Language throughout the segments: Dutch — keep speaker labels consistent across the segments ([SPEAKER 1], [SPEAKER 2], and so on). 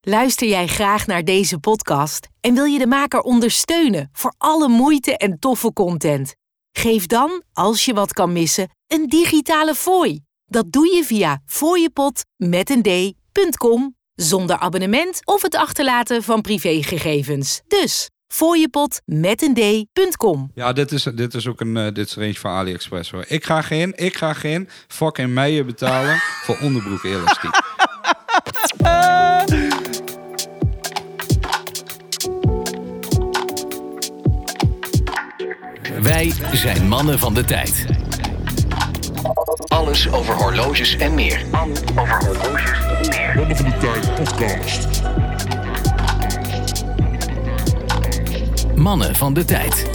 [SPEAKER 1] Luister jij graag naar deze podcast en wil je de maker ondersteunen voor alle moeite en toffe content? Geef dan, als je wat kan missen, een digitale fooi. Dat doe je via fooiepot.com zonder abonnement of het achterlaten van privégegevens. Dus fooiepot.com.
[SPEAKER 2] Ja, dit is, dit is ook een eh, dit is range van AliExpress hoor. Ik ga geen, ik ga geen fucking meijer betalen voor onderbroek elastiek.
[SPEAKER 3] Wij zijn mannen van de tijd. Alles over horloges en meer.
[SPEAKER 4] Mannen van de Tijd podcast.
[SPEAKER 3] Mannen van de tijd.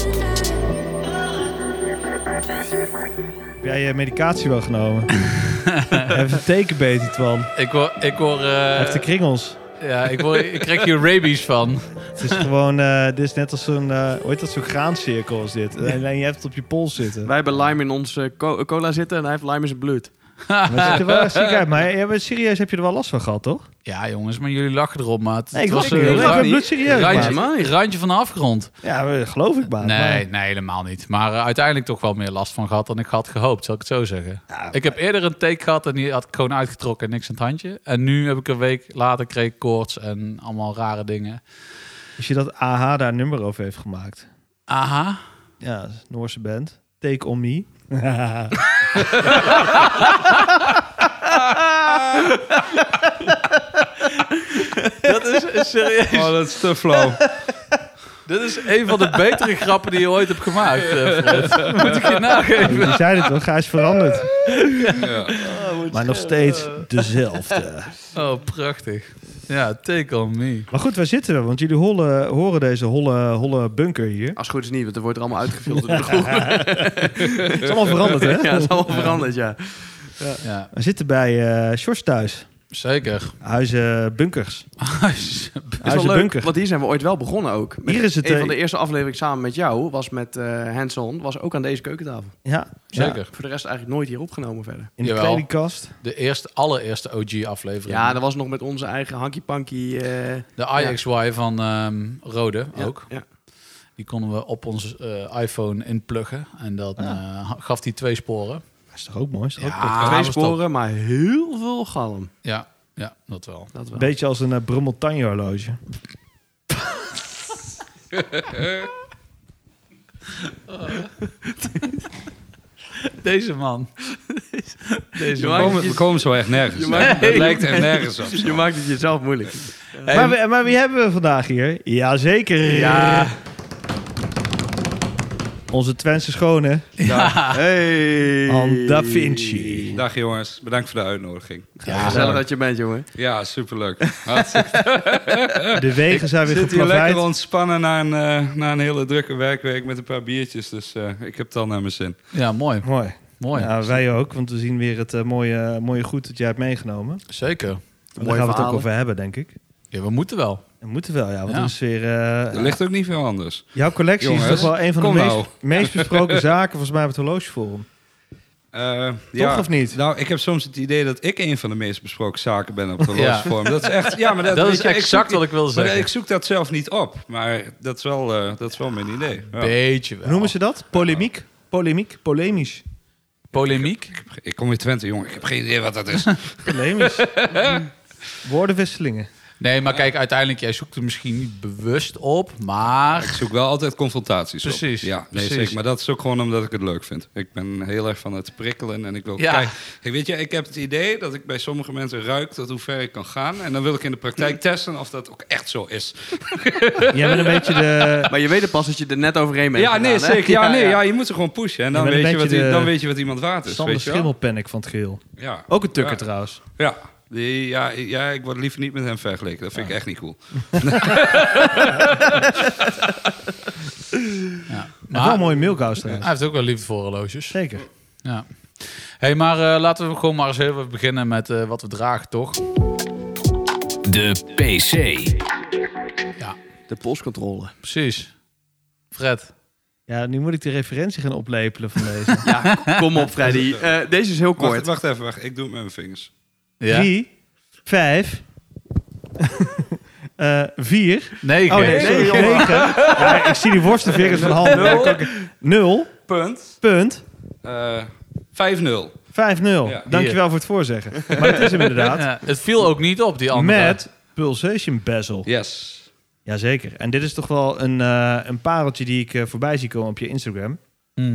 [SPEAKER 5] Heb jij je medicatie wel genomen? Even een tekenbeet, Twan. Hij
[SPEAKER 6] Ik hoor, ik hoor, eh,
[SPEAKER 5] heeft de kringels.
[SPEAKER 6] ja, ik hoor, ik krijg hier rabies van.
[SPEAKER 5] Het is gewoon, eh, dit is net als zo'n, eh hoe heet dat, zo'n graancirkel is dit. Alleen je hebt het op je pols zitten.
[SPEAKER 7] Wij hebben lime in onze co- cola zitten en hij heeft lime in zijn bloed.
[SPEAKER 5] Maar het ziet er wel echt ziek uit. Maar, ja, maar serieus heb je er wel last van gehad, toch?
[SPEAKER 6] Ja, jongens, maar jullie lachen erop, maat.
[SPEAKER 5] Nee, ik was
[SPEAKER 6] een
[SPEAKER 5] niet. Ik ben
[SPEAKER 6] randje-
[SPEAKER 5] bloedserieus,
[SPEAKER 6] Randje,
[SPEAKER 7] maat.
[SPEAKER 6] een randje van de afgrond.
[SPEAKER 5] Ja, maar eh, geloof ik maar.
[SPEAKER 6] Nee,
[SPEAKER 5] Maar-
[SPEAKER 6] nee, helemaal niet. Maar eh, uiteindelijk toch wel meer last van gehad dan ik had gehoopt, zal ik het zo zeggen. ik heb eerder een take gehad en die had ik gewoon uitgetrokken en niks aan het handje. En nu heb ik een week later kreeg ik koorts en allemaal rare dingen.
[SPEAKER 5] Als je dat AH daar een nummer over heeft gemaakt.
[SPEAKER 6] Aha.
[SPEAKER 5] Ja, dat is een Noorse band. Take on me.
[SPEAKER 6] Dat is eh, serieus.
[SPEAKER 2] Oh, dat is te flow.
[SPEAKER 6] Dit is een van de betere grappen die je ooit hebt gemaakt, eh, Fred. Moet ik je nageven.
[SPEAKER 5] Je zei het toch? Hij is veranderd.
[SPEAKER 2] Ja.
[SPEAKER 5] Maar nog steeds dezelfde.
[SPEAKER 6] Oh, prachtig. Ja, take on me.
[SPEAKER 5] Maar goed, waar zitten we? Want jullie holle, horen deze holle, holle bunker hier.
[SPEAKER 7] Als het goed is niet, want er wordt er allemaal uitgefilterd door de groep.
[SPEAKER 5] Het is allemaal veranderd, hè?
[SPEAKER 7] Ja, het is allemaal veranderd, ja.
[SPEAKER 6] Ja,
[SPEAKER 5] We zitten bij eh Sjors thuis.
[SPEAKER 6] zeker.
[SPEAKER 5] Huizen Bunkers.
[SPEAKER 7] Het is
[SPEAKER 5] Huizen
[SPEAKER 7] wel leuk,
[SPEAKER 5] Bunker.
[SPEAKER 7] want hier zijn we ooit wel begonnen ook. Met
[SPEAKER 5] Hier is het,
[SPEAKER 7] een
[SPEAKER 5] eh,
[SPEAKER 7] van de eerste afleveringen samen met jou was met eh Hanson, was ook aan deze keukentafel.
[SPEAKER 5] Ja, ja,
[SPEAKER 6] Zeker.
[SPEAKER 7] Voor de rest eigenlijk nooit hier opgenomen verder.
[SPEAKER 5] in de
[SPEAKER 6] Jawel.
[SPEAKER 5] kledingkast.
[SPEAKER 6] De eerste, allereerste OG-aflevering.
[SPEAKER 7] Ja, dat was nog met onze eigen hanky-panky. eh,
[SPEAKER 6] de IXY van ehm, Rode
[SPEAKER 7] ja,
[SPEAKER 6] ook.
[SPEAKER 7] Ja.
[SPEAKER 6] Die konden we op ons eh, iPhone inpluggen. En dat eh, gaf die twee sporen.
[SPEAKER 5] Dat is toch ook mooi? Is toch ook
[SPEAKER 6] Ja.
[SPEAKER 5] goed?
[SPEAKER 7] Twee
[SPEAKER 6] was top.
[SPEAKER 7] sporen, maar heel veel galm.
[SPEAKER 6] Ja, ja dat wel.
[SPEAKER 7] Dat wel.
[SPEAKER 5] Beetje als een uh, Brummeltanje horloge.
[SPEAKER 6] Deze man. Deze
[SPEAKER 7] Je
[SPEAKER 2] We
[SPEAKER 6] man.
[SPEAKER 7] maakt-
[SPEAKER 2] komen, we komen zo echt nergens.
[SPEAKER 7] maakt-
[SPEAKER 2] Het
[SPEAKER 7] Nee.
[SPEAKER 2] lijkt echt nergens op.
[SPEAKER 7] Je maakt het jezelf moeilijk.
[SPEAKER 5] Maar, we- maar wie hebben we vandaag hier? Jazeker.
[SPEAKER 7] Ja.
[SPEAKER 5] Onze Twentse schone,
[SPEAKER 7] Hey.
[SPEAKER 5] An Da Vinci.
[SPEAKER 2] Dag jongens, bedankt voor de uitnodiging.
[SPEAKER 7] Ja, gezellig dat je bent, jongen.
[SPEAKER 2] Ja, superleuk. Hartstikke.
[SPEAKER 5] De wegen zijn weer
[SPEAKER 2] Zit hier lekker
[SPEAKER 5] geplaveid.
[SPEAKER 2] ontspannen na een, eh, na een hele drukke werkweek met een paar biertjes. Dus eh, ik heb het al naar mijn zin.
[SPEAKER 6] Ja, mooi.
[SPEAKER 5] Mooi.
[SPEAKER 6] Mooi.
[SPEAKER 5] Ja, wij ook, want we zien weer het eh, mooie, mooie goed dat jij hebt meegenomen.
[SPEAKER 6] Zeker.
[SPEAKER 5] Daar gaan
[SPEAKER 7] Mooie
[SPEAKER 5] we het ook
[SPEAKER 7] verhalen.
[SPEAKER 5] over hebben, denk ik.
[SPEAKER 6] Ja, we moeten wel.
[SPEAKER 5] We moeten wel, ja. Want
[SPEAKER 6] Ja.
[SPEAKER 5] het is weer... eh,
[SPEAKER 2] Er ligt ook niet veel anders.
[SPEAKER 5] Jouw collectie is
[SPEAKER 2] Jongens,
[SPEAKER 5] toch wel een van de
[SPEAKER 2] kom
[SPEAKER 5] meest,
[SPEAKER 2] nou.
[SPEAKER 5] meest besproken zaken volgens mij op het horlogeforum.
[SPEAKER 2] Eh, ja,
[SPEAKER 5] of niet?
[SPEAKER 2] Nou, ik heb soms het idee dat ik een van de meest besproken zaken ben op de
[SPEAKER 6] Ja.
[SPEAKER 2] losvorm. Dat is echt. Ja, maar dat,
[SPEAKER 6] Dat
[SPEAKER 2] weet
[SPEAKER 6] is
[SPEAKER 2] je, ik
[SPEAKER 6] exact
[SPEAKER 2] zoek die-
[SPEAKER 6] wat ik wilde
[SPEAKER 2] maar
[SPEAKER 6] zeggen.
[SPEAKER 2] Ik zoek dat zelf niet op, maar dat is wel, eh, dat is wel mijn idee. Ja.
[SPEAKER 6] Beetje
[SPEAKER 5] Hoe
[SPEAKER 6] wel.
[SPEAKER 5] noemen ze dat? Polemiek? Polemiek? Polemisch?
[SPEAKER 6] Polemiek?
[SPEAKER 2] Ik kom in Twente, jongen. Ik heb geen idee wat dat is.
[SPEAKER 5] Polemisch. Mm. Woordenwisselingen.
[SPEAKER 6] Nee, maar kijk, uiteindelijk, jij zoekt er misschien niet bewust op, maar...
[SPEAKER 2] Ik zoek wel altijd confrontaties op.
[SPEAKER 6] Precies,
[SPEAKER 2] Ja, nee,
[SPEAKER 6] precies.
[SPEAKER 2] zeker. Maar dat is ook gewoon omdat ik het leuk vind. Ik ben heel erg van het prikkelen en ik wil
[SPEAKER 6] Ja.
[SPEAKER 2] kijken. Kijk, weet je, ik heb het idee dat ik bij sommige mensen ruik tot hoe ver ik kan gaan. En dan wil ik in de
[SPEAKER 6] Mm.
[SPEAKER 2] praktijk testen of dat ook echt zo is.
[SPEAKER 5] Jij bent een beetje de...
[SPEAKER 7] Maar je weet het pas dat je er net overheen bent.
[SPEAKER 2] Ja, nee,
[SPEAKER 7] gegaan, hè?
[SPEAKER 2] zeker. Ja, nee, ja, je moet er gewoon pushen. En dan,
[SPEAKER 5] Ja, maar dan
[SPEAKER 2] weet, je
[SPEAKER 5] ben
[SPEAKER 2] wat,
[SPEAKER 5] je
[SPEAKER 2] i-
[SPEAKER 5] de
[SPEAKER 2] dan weet je wat iemand waard is.
[SPEAKER 5] Sander
[SPEAKER 2] Dus Weet je wel?
[SPEAKER 5] Schimmelpanic van het geheel.
[SPEAKER 2] Ja.
[SPEAKER 5] Ook een tukker
[SPEAKER 2] Ja.
[SPEAKER 5] trouwens.
[SPEAKER 2] Ja. Die- ja, ja, ik word liever niet met hem vergeleken. Dat vind ik echt niet cool.
[SPEAKER 6] Ja.
[SPEAKER 5] Maar, wel
[SPEAKER 6] Maar
[SPEAKER 5] een mooie Milkhouse trouwens.
[SPEAKER 6] hij heeft ook wel liefde voor horloges.
[SPEAKER 5] Zeker.
[SPEAKER 6] Ja. hey, maar eh, laten we gewoon maar eens even beginnen met eh, wat we dragen, toch?
[SPEAKER 3] De PC.
[SPEAKER 6] Ja,
[SPEAKER 7] De postcontrole.
[SPEAKER 6] precies. Fred.
[SPEAKER 5] Ja, nu moet ik de referentie gaan oplepelen van deze.
[SPEAKER 7] Ja, kom op, Freddy. Eh, deze is heel
[SPEAKER 2] Wacht,
[SPEAKER 7] kort.
[SPEAKER 2] wacht even, wacht. Ik doe het met mijn vingers.
[SPEAKER 6] Ja?
[SPEAKER 5] Drie, vijf... eh, vier.
[SPEAKER 6] Negen.
[SPEAKER 5] Oh nee, sorry,
[SPEAKER 7] Negen.
[SPEAKER 5] negen. Ja, ik zie die worstenvingers van handen.
[SPEAKER 2] Nul.
[SPEAKER 5] Nul. Nul
[SPEAKER 2] Punt.
[SPEAKER 5] punt
[SPEAKER 2] Eh, 5-0.
[SPEAKER 5] 5-0. Dankjewel
[SPEAKER 6] Hier.
[SPEAKER 5] voor het voorzeggen. Maar het is hem inderdaad.
[SPEAKER 6] Ja, het viel ook niet op, die andere.
[SPEAKER 5] Met Pulsation Bezel.
[SPEAKER 2] Yes.
[SPEAKER 5] Jazeker. En dit is toch wel een, eh, een pareltje die ik eh, voorbij zie komen op je Instagram.
[SPEAKER 6] Mhm.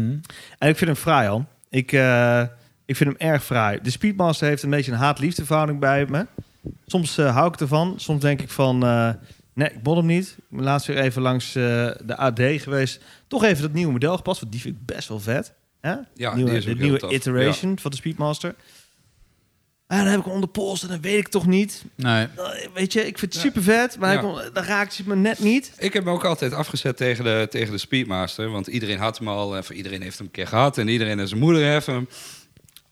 [SPEAKER 5] En ik vind hem fraai al. Ik, eh, ik vind hem erg fraai. De Speedmaster heeft een beetje een haat-liefde verhouding bij me. Soms eh, hou ik ervan. Soms denk ik van, eh, nee, ik bot hem niet. Ik ben laatst weer even langs eh, de AD geweest. Toch even dat nieuwe model gepast, want die vind ik best wel vet. Hè?
[SPEAKER 2] Ja,
[SPEAKER 5] nieuwe,
[SPEAKER 2] die is ook
[SPEAKER 5] de
[SPEAKER 2] heel
[SPEAKER 5] nieuwe
[SPEAKER 2] tof.
[SPEAKER 5] iteration van de Speedmaster. En dan heb ik hem onder pols en dan weet ik toch niet.
[SPEAKER 6] Nee.
[SPEAKER 5] Eh, Weet je, ik vind het super vet, maar
[SPEAKER 2] Ja.
[SPEAKER 5] ik kon- dan raakt ze me net niet.
[SPEAKER 2] Ik heb me ook altijd afgezet tegen de, tegen de Speedmaster. Want iedereen had hem al. En voor iedereen heeft hem een keer gehad. En iedereen en zijn moeder heeft hem.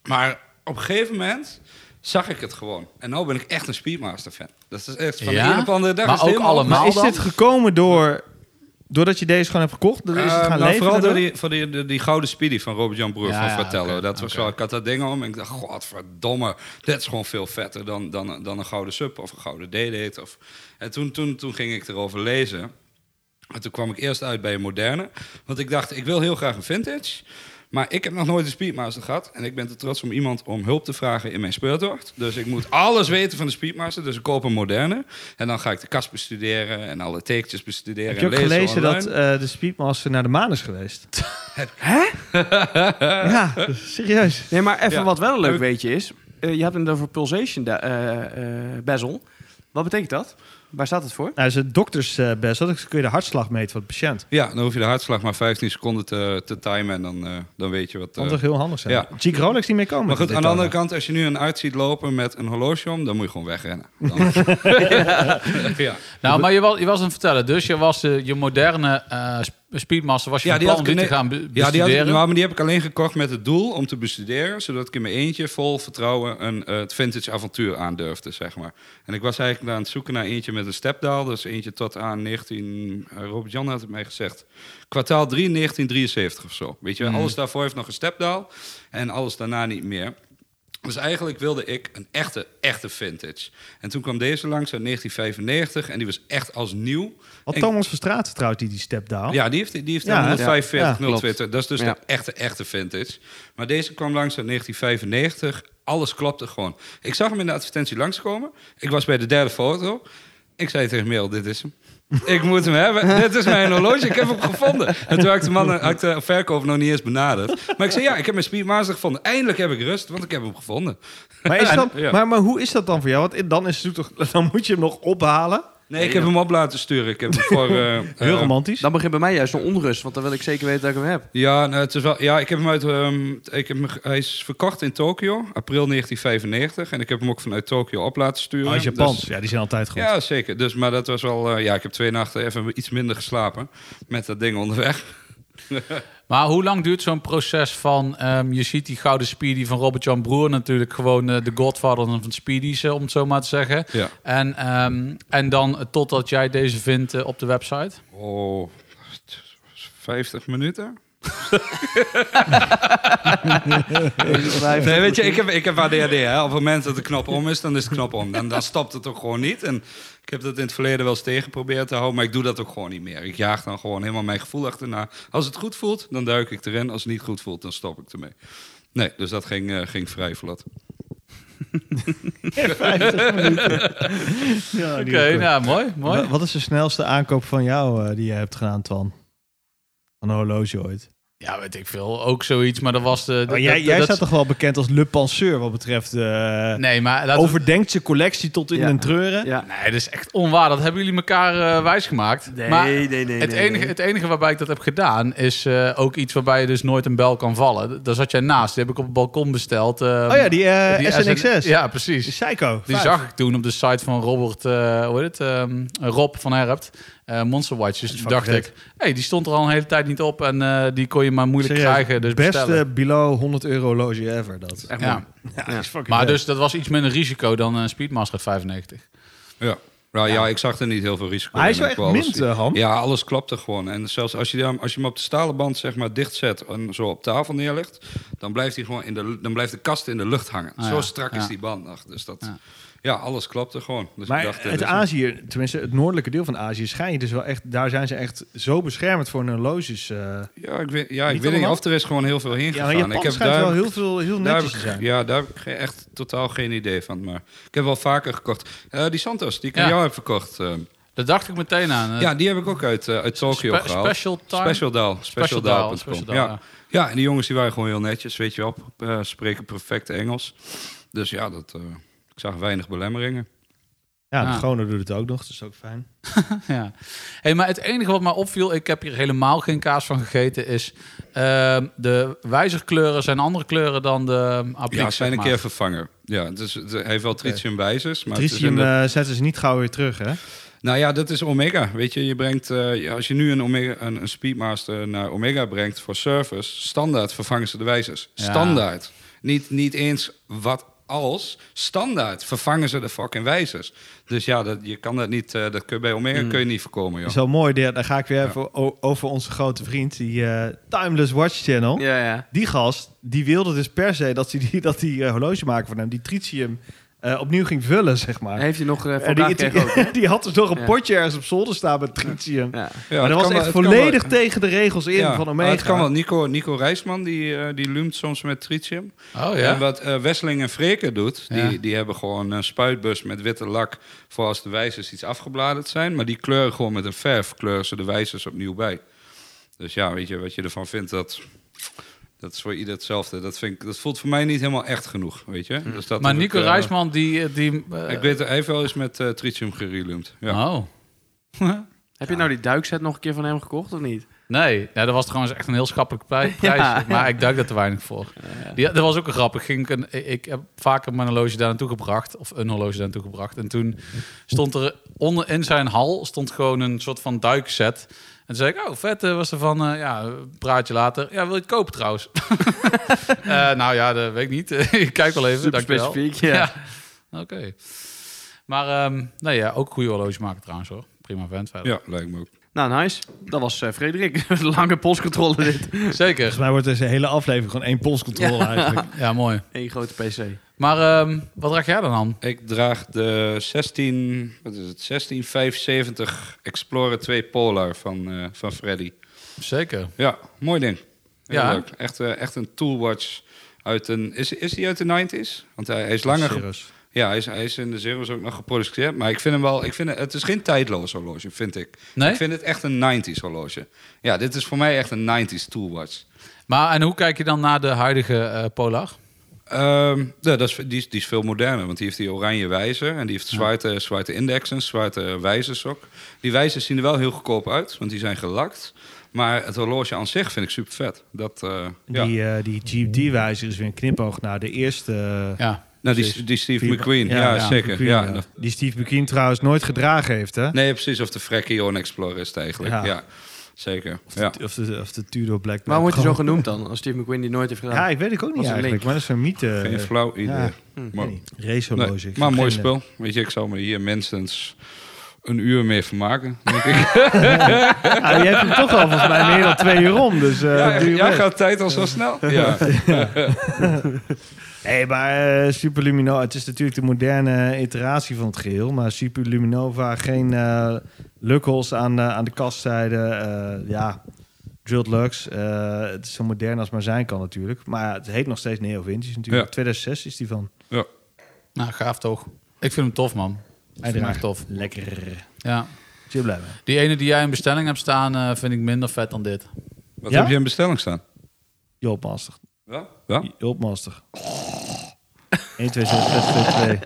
[SPEAKER 2] Maar op een gegeven moment zag ik het gewoon. En nu ben ik echt een Speedmaster fan. Dat is echt van
[SPEAKER 6] Ja?
[SPEAKER 2] de een op de andere dag.
[SPEAKER 6] Maar
[SPEAKER 2] is het
[SPEAKER 6] ook
[SPEAKER 2] helemaal-
[SPEAKER 6] allemaal-
[SPEAKER 5] Maar is
[SPEAKER 6] dan?
[SPEAKER 5] dit gekomen door, doordat je deze gewoon hebt gekocht? Dan is het
[SPEAKER 2] Eh,
[SPEAKER 5] gaan
[SPEAKER 2] nou,
[SPEAKER 5] leven
[SPEAKER 2] vooral door
[SPEAKER 5] daardoor?
[SPEAKER 2] die, voor die, die, die gouden speedy van Robert-Jan Broer
[SPEAKER 6] Ja,
[SPEAKER 2] van
[SPEAKER 6] ja,
[SPEAKER 2] Fratello.
[SPEAKER 6] oké,
[SPEAKER 2] dat was
[SPEAKER 6] oké.
[SPEAKER 2] wel, ik had dat ding om en ik dacht, godverdomme, dit is gewoon veel vetter dan, dan, dan een gouden sub of een gouden D-date. Of... En toen, toen, toen ging ik erover lezen. En toen kwam ik eerst uit bij een moderne. Want ik dacht, ik wil heel graag een vintage. Maar ik heb nog nooit een Speedmaster gehad. En ik ben te trots om iemand om hulp te vragen in mijn speurtocht. Dus ik moet alles weten van de Speedmaster. Dus ik koop een moderne. En dan ga ik de kast bestuderen en alle tekentjes bestuderen.
[SPEAKER 5] Heb je ook
[SPEAKER 2] en lezen
[SPEAKER 5] gelezen dat
[SPEAKER 2] online.
[SPEAKER 5] eh, de Speedmaster naar de maan is geweest? Hè? ja, serieus.
[SPEAKER 7] Nee, maar even
[SPEAKER 2] Ja.
[SPEAKER 7] wat wel een leuk
[SPEAKER 2] Leuk.
[SPEAKER 7] weetje is. Eh, je hebt het over Pulsation da- eh, eh, Bezel. Wat betekent dat? Waar staat het voor?
[SPEAKER 5] Nou, is het doktersbest. Dan kun je de hartslag meten van de patiënt.
[SPEAKER 2] Ja, dan hoef je de hartslag maar 15 seconden te, te timen en dan, eh, dan weet je wat. eh.
[SPEAKER 5] Dat zou heel handig zijn.
[SPEAKER 2] ja.
[SPEAKER 5] Chic Rolex niet meer komen.
[SPEAKER 2] maar goed,
[SPEAKER 5] Dit
[SPEAKER 2] aan de
[SPEAKER 5] dan.
[SPEAKER 2] andere kant, als je nu een arts ziet lopen met een horloge om, dan moet je gewoon wegrennen. Dan... ja.
[SPEAKER 6] Nou, maar je was, je was aan het vertellen. Dus je was eh, je moderne eh, sp- Speedmaster was je
[SPEAKER 2] Ja,
[SPEAKER 6] van
[SPEAKER 2] die
[SPEAKER 6] plan
[SPEAKER 2] had ik
[SPEAKER 6] om die
[SPEAKER 2] in-
[SPEAKER 6] te gaan be-
[SPEAKER 2] ja, die had, ik-
[SPEAKER 6] bestuderen.
[SPEAKER 2] nou, maar die heb ik alleen gekocht met het doel om te bestuderen, zodat ik in mijn eentje vol vertrouwen een, eh, het vintage avontuur aandurfde, zeg maar. En ik was eigenlijk aan het zoeken naar eentje met een stepdaal, dus eentje tot aan 19... eh, Robert Jan had het mij gezegd. Kwartaal 3, 1973 of zo. Weet je,
[SPEAKER 6] Mhm.
[SPEAKER 2] wel, alles daarvoor heeft nog een stepdaal en alles daarna niet meer. Dus eigenlijk wilde ik een echte, echte vintage. En toen kwam deze langs uit 1995 en die was echt als nieuw.
[SPEAKER 5] Had
[SPEAKER 2] En-
[SPEAKER 5] Thomas van Straat trouwt die, die stepdown.
[SPEAKER 2] ja, die heeft, die heeft
[SPEAKER 5] Oh. Ja, hè?
[SPEAKER 2] 145
[SPEAKER 5] Ja,
[SPEAKER 2] 020. Dat is dus
[SPEAKER 7] Ja.
[SPEAKER 2] de echte, echte vintage. Maar deze kwam langs uit 1995. Alles klopte gewoon. Ik zag hem in de advertentie langskomen. Ik was bij de derde foto. Ik zei tegen Merel, dit is hem. Ik moet hem hebben. Dit is mijn horloge. Ik heb hem gevonden. En toen had ik de, man, had ik de verkoper nog niet eens benaderd. Maar ik zei, ja, ik heb mijn Speedmaster gevonden. Eindelijk heb ik rust, want ik heb hem gevonden.
[SPEAKER 5] Maar, is dat,
[SPEAKER 2] Ja.
[SPEAKER 5] maar, maar hoe is dat dan voor jou? Want in- dan, is het toch, dan moet je hem nog ophalen.
[SPEAKER 2] Nee, ik heb hem op laten sturen. Ik heb hem voor... eh,
[SPEAKER 5] Heel
[SPEAKER 2] eh,
[SPEAKER 5] romantisch.
[SPEAKER 7] Dan begint bij mij juist een onrust, want dan wil ik zeker weten dat ik hem heb.
[SPEAKER 2] Ja, nou, het is wel, ja ik heb hem uit, ehm, ik heb hem, ge- hij is verkocht in Tokio, april 1995. En ik heb hem ook vanuit Tokio op laten sturen.
[SPEAKER 5] Oh, is Japans.
[SPEAKER 2] Dus-
[SPEAKER 5] ja, die zijn altijd goed.
[SPEAKER 2] ja, zeker. Dus, maar dat was wel, eh, ja, ik heb twee nachten even iets minder geslapen met dat ding onderweg.
[SPEAKER 6] Maar hoe lang duurt zo'n proces van... ehm, je ziet die gouden Speedy van Robert-Jan Broer natuurlijk... gewoon eh, de godvader van de Speedies, eh, om het zo maar te zeggen.
[SPEAKER 2] Ja.
[SPEAKER 6] En, ehm, en dan eh, totdat jij deze vindt eh, op de website?
[SPEAKER 2] Oh, 50 minuten? Nee, weet je, ik heb, ik heb ADHD. Hè. Op het moment dat de knop om is, dan is de knop om. Dan, dan stopt het ook gewoon niet. En ik heb dat in het verleden wel eens tegen geprobeerd te houden, maar ik doe dat ook gewoon niet meer. Ik jaag dan gewoon helemaal mijn gevoel achterna. Als het goed voelt, dan duik ik erin. Als het niet goed voelt, dan stop ik ermee. Nee, dus dat ging, eh, ging vrij vlot.
[SPEAKER 5] Ja, die
[SPEAKER 6] Oké,
[SPEAKER 5] is
[SPEAKER 2] eh,
[SPEAKER 5] goed.
[SPEAKER 6] nou, mooi, mooi.
[SPEAKER 5] Wa- Wat is de snelste aankoop van jou eh, die je hebt gedaan, Twan? Van een horloge ooit.
[SPEAKER 6] Ja, weet ik veel. Ook zoiets, maar dat was de... dat-
[SPEAKER 2] Oh,
[SPEAKER 5] Maar Oh, jij
[SPEAKER 6] dat-
[SPEAKER 5] jij
[SPEAKER 6] dat-
[SPEAKER 5] staat toch wel bekend als le penseur wat betreft... eh,
[SPEAKER 2] Nou,
[SPEAKER 6] Nee, maar... laten we-
[SPEAKER 5] overdenkt zijn collectie tot in
[SPEAKER 7] Ja.
[SPEAKER 5] den treuren.
[SPEAKER 7] Ja.
[SPEAKER 6] Nee, dat is echt onwaar. Dat hebben jullie elkaar eh, wijsgemaakt.
[SPEAKER 7] Nee,
[SPEAKER 6] maar
[SPEAKER 7] nee, nee,
[SPEAKER 6] Het
[SPEAKER 7] nee,
[SPEAKER 6] enige,
[SPEAKER 7] nee.
[SPEAKER 6] het enige waarbij ik dat heb gedaan is eh, ook iets waarbij je dus nooit een bel kan vallen. D- Daar zat jij naast. Die heb ik op het balkon besteld. eh,
[SPEAKER 5] Oh ja, die, eh,
[SPEAKER 6] SN
[SPEAKER 5] SNXS.
[SPEAKER 6] Ja, precies.
[SPEAKER 5] Psycho.
[SPEAKER 6] Die
[SPEAKER 5] Vijf.
[SPEAKER 6] zag ik toen op de site van Robert, eh, hoe heet het? ehm, Rob van Herpt, eh Monster Watch. Dus toen
[SPEAKER 5] fucking
[SPEAKER 6] dacht
[SPEAKER 5] vet.
[SPEAKER 6] ik, hey, die stond er al een hele tijd niet op en eh, die kon je maar moeilijk
[SPEAKER 5] Serieus,
[SPEAKER 2] eh,
[SPEAKER 6] krijgen. Dus
[SPEAKER 5] Beste
[SPEAKER 6] bestellen.
[SPEAKER 5] below 100 euro loge ever. Dat.
[SPEAKER 7] Echt
[SPEAKER 6] Ja.
[SPEAKER 7] mooi. Ja.
[SPEAKER 6] Maar dus dat was iets minder risico dan een Speedmaster 95.
[SPEAKER 2] Ja. Nou ja, ik zag er niet heel veel risico
[SPEAKER 5] Maar hij is
[SPEAKER 2] in.
[SPEAKER 5] wel
[SPEAKER 2] Ik
[SPEAKER 5] echt
[SPEAKER 2] wou alles-
[SPEAKER 5] mint, eh, Ham.
[SPEAKER 2] Ja, alles klopte gewoon. En zelfs als je, hem- als je hem op de stalen band zeg maar, dichtzet en zo op tafel neerlegt... dan blijft, hij gewoon in de, lu- dan blijft de kast in de lucht hangen.
[SPEAKER 6] Ah,
[SPEAKER 2] zo
[SPEAKER 6] ja.
[SPEAKER 2] strak
[SPEAKER 6] Ja.
[SPEAKER 2] is die band nog. Dus dat,
[SPEAKER 6] Ja.
[SPEAKER 2] ja. Ja, alles klapte gewoon. Dus
[SPEAKER 5] maar
[SPEAKER 2] ik dacht, eh,
[SPEAKER 5] het
[SPEAKER 2] dit is
[SPEAKER 5] Azië, tenminste het noordelijke deel van Azië, schijnt dus wel echt, daar zijn ze echt zo beschermd voor hun horloges. eh.
[SPEAKER 2] een- ja, ik weet, ja, ik weet
[SPEAKER 5] Niet
[SPEAKER 2] niet
[SPEAKER 5] allemaal?
[SPEAKER 2] of er is gewoon heel veel heen
[SPEAKER 5] ja,
[SPEAKER 2] gegaan.
[SPEAKER 5] maar Japan
[SPEAKER 2] ik heb
[SPEAKER 5] schijnt
[SPEAKER 2] daar,
[SPEAKER 5] wel heel, veel, heel
[SPEAKER 2] daar
[SPEAKER 5] netjes te
[SPEAKER 2] heb ik,
[SPEAKER 5] zijn.
[SPEAKER 2] ja, daar heb ik ge- echt totaal geen idee van. Maar ik heb wel vaker gekocht. Eh, die Santos, die ik aan
[SPEAKER 6] Ja.
[SPEAKER 2] jou heb verkocht. eh,
[SPEAKER 6] Daar dacht ik meteen aan. eh,
[SPEAKER 2] ja, die heb ik ook uit, eh, uit Tokio
[SPEAKER 6] spe-
[SPEAKER 2] gehaald.
[SPEAKER 6] Special Time.
[SPEAKER 2] Special Daal. Special Daal.
[SPEAKER 6] Special Daal,
[SPEAKER 2] Ja. ja, en die jongens die waren gewoon heel netjes, weet je wel. eh, spreken perfect Engels. Dus ja, dat, eh, ik zag weinig belemmeringen.
[SPEAKER 5] Ja, de
[SPEAKER 6] Ja.
[SPEAKER 5] Groner doet het ook nog, dat is ook fijn.
[SPEAKER 6] Ja. Hey, maar het enige wat mij opviel, ik heb hier helemaal geen kaas van gegeten, is ehm, de wijzerkleuren zijn andere kleuren dan de appliek.
[SPEAKER 2] ja, zijn
[SPEAKER 6] zeg
[SPEAKER 2] een
[SPEAKER 6] maar.
[SPEAKER 2] keer vervanger. Ja, dus het- hij heeft wel tritiumwijzers. maar het is
[SPEAKER 5] Tritium
[SPEAKER 2] in de-
[SPEAKER 5] eh, zetten ze niet gauw weer terug, hè?
[SPEAKER 2] Nou ja, dat is Omega. Weet je, je brengt, eh, ja, als je nu een, Omega, een, een Speedmaster naar Omega brengt voor service, standaard vervangen ze de wijzers.
[SPEAKER 6] Ja.
[SPEAKER 2] Standaard. Niet, niet eens wat als, standaard vervangen ze de fucking wijzers. Dus ja, dat, je kan dat niet, eh, dat kun je bij Omega kun je niet voorkomen, joh.
[SPEAKER 5] Is wel mooi, daar daar ga ik weer even o- over onze grote vriend, die eh, Timeless Watch Channel.
[SPEAKER 7] Ja, ja.
[SPEAKER 5] Die gast, die wilde dus per se dat hij die, dat die eh, horlogemaker van hem, die tritium, eh, opnieuw ging vullen, zeg maar.
[SPEAKER 7] Heeft hij nog eh,
[SPEAKER 5] En
[SPEAKER 7] vandaag
[SPEAKER 5] die,
[SPEAKER 7] gekregen ook, hè?
[SPEAKER 5] die had dus nog een
[SPEAKER 7] Ja.
[SPEAKER 5] potje ergens op zolder staan met tritium.
[SPEAKER 7] Ja.
[SPEAKER 2] Ja,
[SPEAKER 5] maar
[SPEAKER 2] het
[SPEAKER 5] dat was
[SPEAKER 2] kan
[SPEAKER 5] echt
[SPEAKER 2] wel- het kan wel-
[SPEAKER 5] volledig tegen de regels in
[SPEAKER 2] Ja,
[SPEAKER 5] van
[SPEAKER 2] maar
[SPEAKER 5] Omega.
[SPEAKER 2] Het kan wel. Nico, Nico Rijsman, die, eh, die loomt soms met tritium.
[SPEAKER 6] Oh
[SPEAKER 2] En
[SPEAKER 6] ja.
[SPEAKER 2] wat eh Wesseling en Freke doet,
[SPEAKER 6] Ja.
[SPEAKER 2] die, die hebben gewoon een spuitbus met witte lak voor als de wijzers iets afgebladerd zijn. Maar die kleuren gewoon met een verf, kleuren ze de wijzers opnieuw bij. Dus ja, weet je wat je ervan vindt, dat, dat is voor ieder hetzelfde. Dat, vind ik, dat voelt voor mij niet helemaal echt genoeg, weet je. Dus dat
[SPEAKER 6] Hm. Maar
[SPEAKER 2] heb ik,
[SPEAKER 6] Nico
[SPEAKER 2] eh,
[SPEAKER 6] Rijsman, die. die eh,
[SPEAKER 2] Ik weet, hij heeft wel eens met eh, tritium gerelumd. Ja.
[SPEAKER 6] Oh.
[SPEAKER 7] Heb je nou die duikset nog een keer van hem gekocht of niet?
[SPEAKER 6] Nee, ja, dat was trouwens echt een heel schappelijk prij- prijs.
[SPEAKER 7] Ja.
[SPEAKER 6] Maar ik duik daar te weinig voor. Die, dat was ook een grap. Ik, ging een, ik heb vaker mijn horloge daar naartoe gebracht. Of een horloge daar naartoe gebracht. En toen stond er onder in zijn hal stond gewoon een soort van duikset. En toen zei ik, oh vet, eh, was er van, eh, ja, praat je later. Ja, wil je het kopen trouwens? Eh, nou ja, dat weet ik niet. ik kijk wel even,
[SPEAKER 7] Super
[SPEAKER 6] dankjewel.
[SPEAKER 7] specifiek,
[SPEAKER 6] Ja.
[SPEAKER 7] ja.
[SPEAKER 6] Oké. Maar ehm nee, ja, ook goede horloge maken trouwens hoor. Prima vent verder.
[SPEAKER 2] ja, lijkt me ook.
[SPEAKER 7] Nou, nice. Dat was eh, Frederik. Lange postcontrole dit.
[SPEAKER 6] Zeker.
[SPEAKER 5] Volgens mij wordt deze hele aflevering gewoon één polscontrole eigenlijk.
[SPEAKER 6] Ja, mooi.
[SPEAKER 7] Eén grote PC.
[SPEAKER 6] Maar ehm, wat draag jij dan aan?
[SPEAKER 2] Ik draag de 16, wat is het, 16570 Explorer 2 Polar van, eh, van Freddy.
[SPEAKER 6] Zeker.
[SPEAKER 2] Ja, mooi ding. Heel
[SPEAKER 6] Ja.
[SPEAKER 2] leuk. Echt, eh, echt een toolwatch uit een... Is, is die uit de 90s? Want hij, hij is langer... ge-
[SPEAKER 5] Serieus.
[SPEAKER 2] Ja, hij is, hij is in de zeros ook nog geproduceerd. Maar ik vind hem wel... Ik vind het, het is geen tijdloos horloge, vind ik.
[SPEAKER 6] Nee?
[SPEAKER 2] Ik vind het echt een 90s horloge. Ja, dit is voor mij echt een 90s toolwatch.
[SPEAKER 6] Maar en hoe kijk je dan naar de huidige eh, Polar?
[SPEAKER 2] Ehm, ja, dat is, die, is, die is veel moderner, want die heeft die oranje wijzer en die heeft zwarte, zwarte indexen, zwarte wijzers ook. Die wijzers zien er wel heel goedkoop uit, want die zijn gelakt. Maar het horloge aan zich vind ik super vet. Dat, eh, ja.
[SPEAKER 5] Die, eh, die GMT-wijzer is weer een knipoog naar de eerste...
[SPEAKER 6] Ja.
[SPEAKER 2] nou, die,
[SPEAKER 5] precies.
[SPEAKER 2] die Steve
[SPEAKER 5] Vier-
[SPEAKER 2] McQueen, ja,
[SPEAKER 5] ja,
[SPEAKER 2] zeker.
[SPEAKER 5] McQueen,
[SPEAKER 2] ja.
[SPEAKER 5] ja.
[SPEAKER 2] dat-
[SPEAKER 5] Die Steve McQueen trouwens nooit gedragen heeft, hè?
[SPEAKER 2] Nee, precies, of de Freckion Explorer is het eigenlijk. Ja,
[SPEAKER 5] Ja.
[SPEAKER 2] zeker. Ja.
[SPEAKER 5] Of, eh, de, of de Tudor Black.
[SPEAKER 7] Waarom wordt hij zo
[SPEAKER 5] Gewoon-
[SPEAKER 7] genoemd dan? Als Steve McQueen die nooit heeft gedaan.
[SPEAKER 5] Ja, ik weet het ook niet
[SPEAKER 7] Was een
[SPEAKER 5] eigenlijk.
[SPEAKER 7] link.
[SPEAKER 5] Maar dat is een mythe.
[SPEAKER 2] Geen
[SPEAKER 5] eh,
[SPEAKER 2] flauw idee.
[SPEAKER 5] ja.
[SPEAKER 2] Maar,
[SPEAKER 5] nee, Racehorloge.
[SPEAKER 2] nee,
[SPEAKER 5] Ik heb
[SPEAKER 2] maar mooi
[SPEAKER 5] geen- eh,
[SPEAKER 2] spul. Weet je, ik zou me hier minstens een uur mee vermaken, denk ik.
[SPEAKER 5] Ah, je hebt hem toch al volgens mij meer dan twee uur om. Dus, eh
[SPEAKER 2] ja,
[SPEAKER 5] doe je
[SPEAKER 2] ja,
[SPEAKER 5] best.
[SPEAKER 2] gaat tijd al zo snel? Ja.
[SPEAKER 5] Hé, maar eh, Superlumino, het is natuurlijk de moderne iteratie van het geheel. Maar Superluminova, geen eh lukhals aan, eh, aan de kastzijde. eh, ja, drilled lux. eh, het is zo modern als maar zijn kan natuurlijk. Maar ja, het heet nog steeds Neo Vintage natuurlijk.
[SPEAKER 2] Ja.
[SPEAKER 5] 2006 is die van.
[SPEAKER 6] Nou, gaaf toch. Ik vind hem tof, man. Ik vind hem
[SPEAKER 5] draagt
[SPEAKER 6] echt tof.
[SPEAKER 5] Lekker.
[SPEAKER 6] Ja.
[SPEAKER 5] Zul je blij mee?
[SPEAKER 6] Die ene die jij in bestelling hebt staan, eh, vind ik minder vet dan dit.
[SPEAKER 2] Wat
[SPEAKER 5] Ja?
[SPEAKER 2] heb je in bestelling staan?
[SPEAKER 5] Joop Master.
[SPEAKER 2] Ja? ja?
[SPEAKER 5] Joop Master. 1, 2, 6, 6, 2, 2.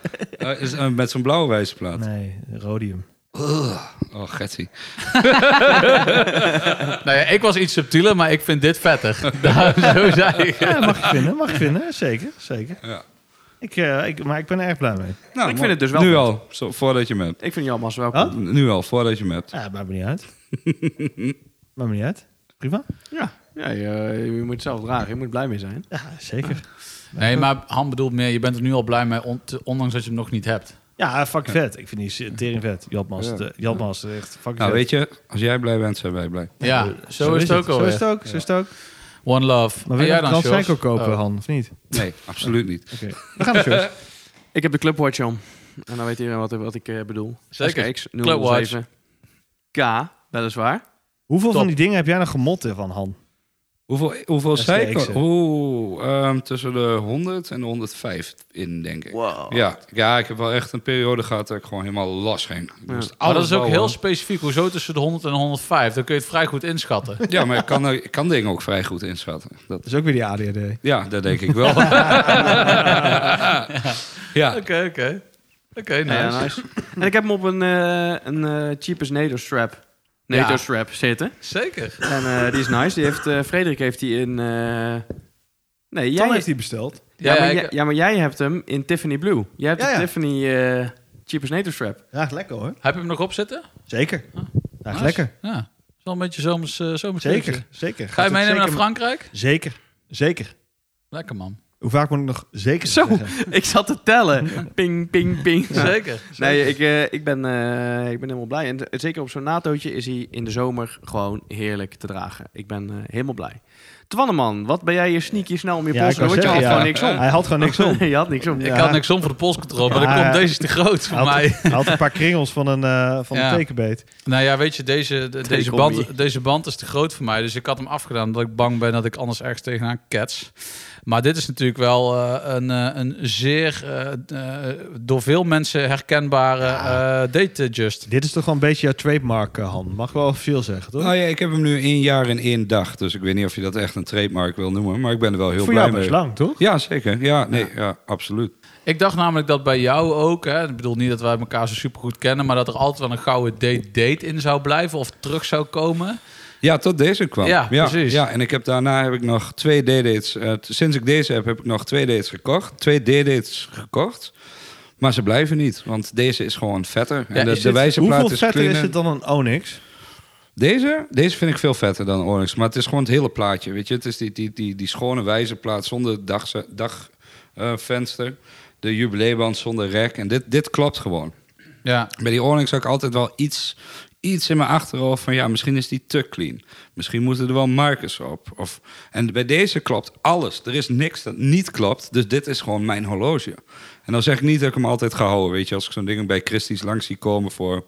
[SPEAKER 2] Eh, is, eh, met zo'n blauwe wijzerplaat.
[SPEAKER 5] Nee, Rhodium.
[SPEAKER 2] Oh, getty.
[SPEAKER 6] Nou ja, ik was iets subtieler, maar ik vind dit vetter. Daar, zo zei ik.
[SPEAKER 5] Ja, mag je vinden, mag je vinden. Zeker, zeker.
[SPEAKER 2] Ja.
[SPEAKER 5] Ik, eh, ik, maar ik ben er erg blij mee.
[SPEAKER 2] Nou, mooi.
[SPEAKER 7] Ik vind het dus wel
[SPEAKER 2] Nu
[SPEAKER 7] goed.
[SPEAKER 2] al, zo, voordat je hem hebt.
[SPEAKER 7] Ik vind Jan Mas wel
[SPEAKER 5] Huh?
[SPEAKER 7] cool.
[SPEAKER 2] Nu al, voordat je hem hebt.
[SPEAKER 5] Ja, maakt me niet uit. maakt me niet uit. Prima.
[SPEAKER 7] Ja, ja je, eh, je moet het zelf dragen. Je moet blij mee zijn.
[SPEAKER 5] Ja, zeker.
[SPEAKER 6] Nee, maar Han bedoelt meer, je bent er nu al blij mee, on- te- ondanks dat je hem nog niet hebt.
[SPEAKER 5] Ja, fuck vet. Ik vind die tering vet. Jadmas, ja. Jadmas echt fuck
[SPEAKER 2] Nou,
[SPEAKER 5] vet.
[SPEAKER 2] weet je, als jij blij bent, zijn wij blij.
[SPEAKER 6] Ja, zo, is het ook
[SPEAKER 5] Zo is
[SPEAKER 6] alweer.
[SPEAKER 5] het ook, zo is het ook.
[SPEAKER 6] One love.
[SPEAKER 5] Maar
[SPEAKER 6] En
[SPEAKER 5] wil je
[SPEAKER 6] jij
[SPEAKER 5] een
[SPEAKER 6] dan, Sjors?
[SPEAKER 5] Transfeco kopen,
[SPEAKER 6] Oh.
[SPEAKER 5] Han, of niet?
[SPEAKER 2] Nee, absoluut niet.
[SPEAKER 5] Oké, we gaan naar Sjors.
[SPEAKER 7] Ik heb de Clubwatch om. En dan weet iedereen wat, wat ik eh, bedoel.
[SPEAKER 6] Zeker.
[SPEAKER 7] 6K X,
[SPEAKER 6] Clubwatch.
[SPEAKER 7] 007. K, weliswaar.
[SPEAKER 5] Hoeveel
[SPEAKER 6] Top.
[SPEAKER 5] van die dingen heb jij nou gemot van Han?
[SPEAKER 2] Hoeveel, hoeveel
[SPEAKER 5] STX
[SPEAKER 2] zei ik?
[SPEAKER 5] en-
[SPEAKER 2] Oeh, ehm, tussen de 100 en de 105 in, denk ik.
[SPEAKER 7] Wow.
[SPEAKER 2] Ja, ja, ik heb wel echt een periode gehad dat ik gewoon helemaal los ging. Ik
[SPEAKER 7] Ja.
[SPEAKER 2] moest
[SPEAKER 6] Maar dat
[SPEAKER 2] alles
[SPEAKER 6] is ook
[SPEAKER 2] bouwen.
[SPEAKER 6] heel specifiek. Hoezo tussen de 100 en de 105? Dan kun je het vrij goed inschatten.
[SPEAKER 2] Ja, maar ik kan, er- ik kan dingen ook vrij goed inschatten. Dat,
[SPEAKER 5] Dat is ook weer die ADHD.
[SPEAKER 2] ja, dat denk ik wel. ja,
[SPEAKER 6] Oké, oké. Oké,
[SPEAKER 7] Ja,
[SPEAKER 6] nice.
[SPEAKER 7] nice. en ik heb hem op een, eh een eh, cheapest NATO strap. NATO
[SPEAKER 6] Ja.
[SPEAKER 7] strap zitten.
[SPEAKER 6] Zeker.
[SPEAKER 7] En eh, die is nice. Die heeft, eh, Frederik heeft die in... eh, Nee, jij,
[SPEAKER 5] Dan heeft hij besteld.
[SPEAKER 7] ja,
[SPEAKER 6] Ja,
[SPEAKER 7] maar
[SPEAKER 6] ik-
[SPEAKER 7] jij, ja, maar jij hebt hem in Tiffany Blue. Jij hebt
[SPEAKER 5] Ja,
[SPEAKER 7] de
[SPEAKER 5] ja.
[SPEAKER 7] Tiffany eh cheapest NATO strap.
[SPEAKER 5] Ja, lekker hoor.
[SPEAKER 6] Heb je hem nog op zitten?
[SPEAKER 5] Zeker. Ja,
[SPEAKER 6] Nice.
[SPEAKER 5] lekker.
[SPEAKER 6] Ja. Is wel een beetje zomers, eh, zomers
[SPEAKER 5] Zeker.
[SPEAKER 6] kleurtje.
[SPEAKER 5] Zeker.
[SPEAKER 6] Ga je
[SPEAKER 5] Dat is
[SPEAKER 6] meenemen naar
[SPEAKER 5] zeker-
[SPEAKER 6] Frankrijk?
[SPEAKER 5] Zeker. Zeker.
[SPEAKER 6] Lekker, man.
[SPEAKER 5] Hoe vaak moet ik nog zeker
[SPEAKER 7] Zo.
[SPEAKER 5] zeggen?
[SPEAKER 7] Ik zat te tellen. Ping, ping, ping.
[SPEAKER 6] Zeker.
[SPEAKER 7] Nee, ik, eh, ik, ben, eh, ik ben helemaal blij. En t- zeker op zo'n NATO'tje is hij in de zomer gewoon heerlijk te dragen. Ik ben eh, helemaal blij. Twanneman, wat ben jij je sneaky snel om je
[SPEAKER 5] Ja,
[SPEAKER 7] pols?
[SPEAKER 5] ik wou
[SPEAKER 7] Want je had
[SPEAKER 5] zeggen,
[SPEAKER 7] gewoon
[SPEAKER 5] ja.
[SPEAKER 7] niks om.
[SPEAKER 5] Hij had gewoon niks om.
[SPEAKER 7] je had niks om.
[SPEAKER 6] Nou, Ik
[SPEAKER 5] Ja.
[SPEAKER 6] had niks om voor de polscontrole, maar
[SPEAKER 5] Ja.
[SPEAKER 6] dan komt deze is te groot voor
[SPEAKER 5] Hij had,
[SPEAKER 6] mij.
[SPEAKER 5] hij had een paar kringels van een, eh van
[SPEAKER 6] Ja.
[SPEAKER 5] een tekenbeet.
[SPEAKER 6] Nou ja, weet je, deze, de- deze,
[SPEAKER 7] combi.
[SPEAKER 6] band, deze band is te groot voor mij. Dus ik had hem afgedaan omdat ik bang ben dat ik anders ergens tegenaan kets. Maar dit is natuurlijk wel eh, een, eh, een zeer eh, eh, door veel mensen herkenbare eh date just.
[SPEAKER 5] Dit is toch wel een beetje jouw trademark, eh, Han. Mag wel veel zeggen, toch?
[SPEAKER 2] nou ja, ik heb hem nu één jaar en één dag. Dus ik weet niet of je dat echt een trademark wil noemen. Maar ik ben er wel heel
[SPEAKER 5] Voor
[SPEAKER 2] blij
[SPEAKER 5] jou
[SPEAKER 2] mee.
[SPEAKER 5] best lang, toch?
[SPEAKER 2] Ja, zeker. Ja, nee, ja. absoluut.
[SPEAKER 6] Ik dacht namelijk dat bij jou ook, hè, ik bedoel niet dat wij elkaar zo super goed kennen, maar dat er altijd wel een gouden date date in zou blijven of terug zou komen.
[SPEAKER 2] Ja, tot deze kwam.
[SPEAKER 6] Ja, precies.
[SPEAKER 2] Ja, en ik heb daarna heb ik nog twee D-dates. eh, t- sinds ik deze heb, heb ik nog twee dates gekocht. Twee D-dates gekocht. Maar ze blijven niet, want deze is gewoon vetter. En
[SPEAKER 6] Ja,
[SPEAKER 2] de,
[SPEAKER 6] is
[SPEAKER 2] de
[SPEAKER 6] het-
[SPEAKER 2] wijze plaat
[SPEAKER 5] Hoeveel
[SPEAKER 2] is
[SPEAKER 5] vetter is
[SPEAKER 2] cleaner.
[SPEAKER 5] het dan een Onyx?
[SPEAKER 2] Deze? Deze vind ik veel vetter dan Onyx. Maar het is gewoon het hele plaatje, weet je. Het is die, die, die, die schone wijze plaat zonder dagvenster. Dag, eh, venster. de jubileeband zonder rek. En dit, dit klopt gewoon.
[SPEAKER 6] Ja,
[SPEAKER 2] Bij die Onyx had ik altijd wel iets, iets in mijn achterhoofd van... ja, misschien is die te clean. Misschien moeten er wel markers op. Of, en bij deze klopt alles. Er is niks dat niet klopt. Dus dit is gewoon mijn horloge. En dan zeg ik niet dat ik hem altijd ga houden. Weet je, als ik zo'n ding bij Christie's langs zie komen voor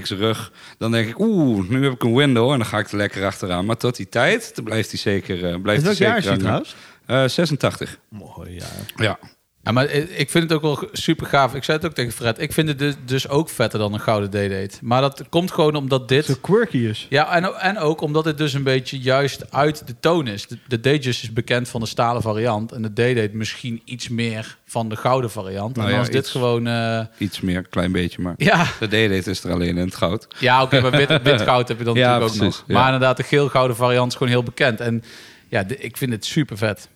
[SPEAKER 2] x rug... dan denk ik, oeh, nu heb ik een window en dan ga ik er lekker achteraan. Maar tot die tijd dan blijft hij zeker... eh,
[SPEAKER 5] In
[SPEAKER 2] blijft hij
[SPEAKER 5] welk
[SPEAKER 2] zeker
[SPEAKER 5] jaar is die
[SPEAKER 2] hangen.
[SPEAKER 5] trouwens?
[SPEAKER 2] Eh, 86.
[SPEAKER 5] Mooi, ja.
[SPEAKER 2] Ja.
[SPEAKER 6] Ja, maar i- ik vind het ook wel super gaaf. Ik zei het ook tegen Fred. Ik vind het dus- dus ook vetter dan een gouden D-date. Maar dat komt gewoon omdat
[SPEAKER 5] Zo
[SPEAKER 6] dit...
[SPEAKER 5] quirky is.
[SPEAKER 6] Ja, en, o- en ook omdat het dus een beetje juist uit de toon is. De, de D-just is bekend van de stalen variant. En de D-date misschien iets meer van de gouden variant.
[SPEAKER 2] Nou
[SPEAKER 6] en
[SPEAKER 2] ja,
[SPEAKER 6] dan is dit
[SPEAKER 2] iets.
[SPEAKER 6] gewoon... eh,
[SPEAKER 2] Iets meer, klein beetje, maar...
[SPEAKER 6] ja,
[SPEAKER 2] De D-date is er alleen in het goud.
[SPEAKER 6] ja oké, maar wit, wit goud heb je dan
[SPEAKER 2] Ja,
[SPEAKER 6] natuurlijk ook
[SPEAKER 2] precies,
[SPEAKER 6] nog.
[SPEAKER 2] ja.
[SPEAKER 6] Maar inderdaad, de geel-gouden variant is gewoon heel bekend. En ja, de- ik vind het super vet.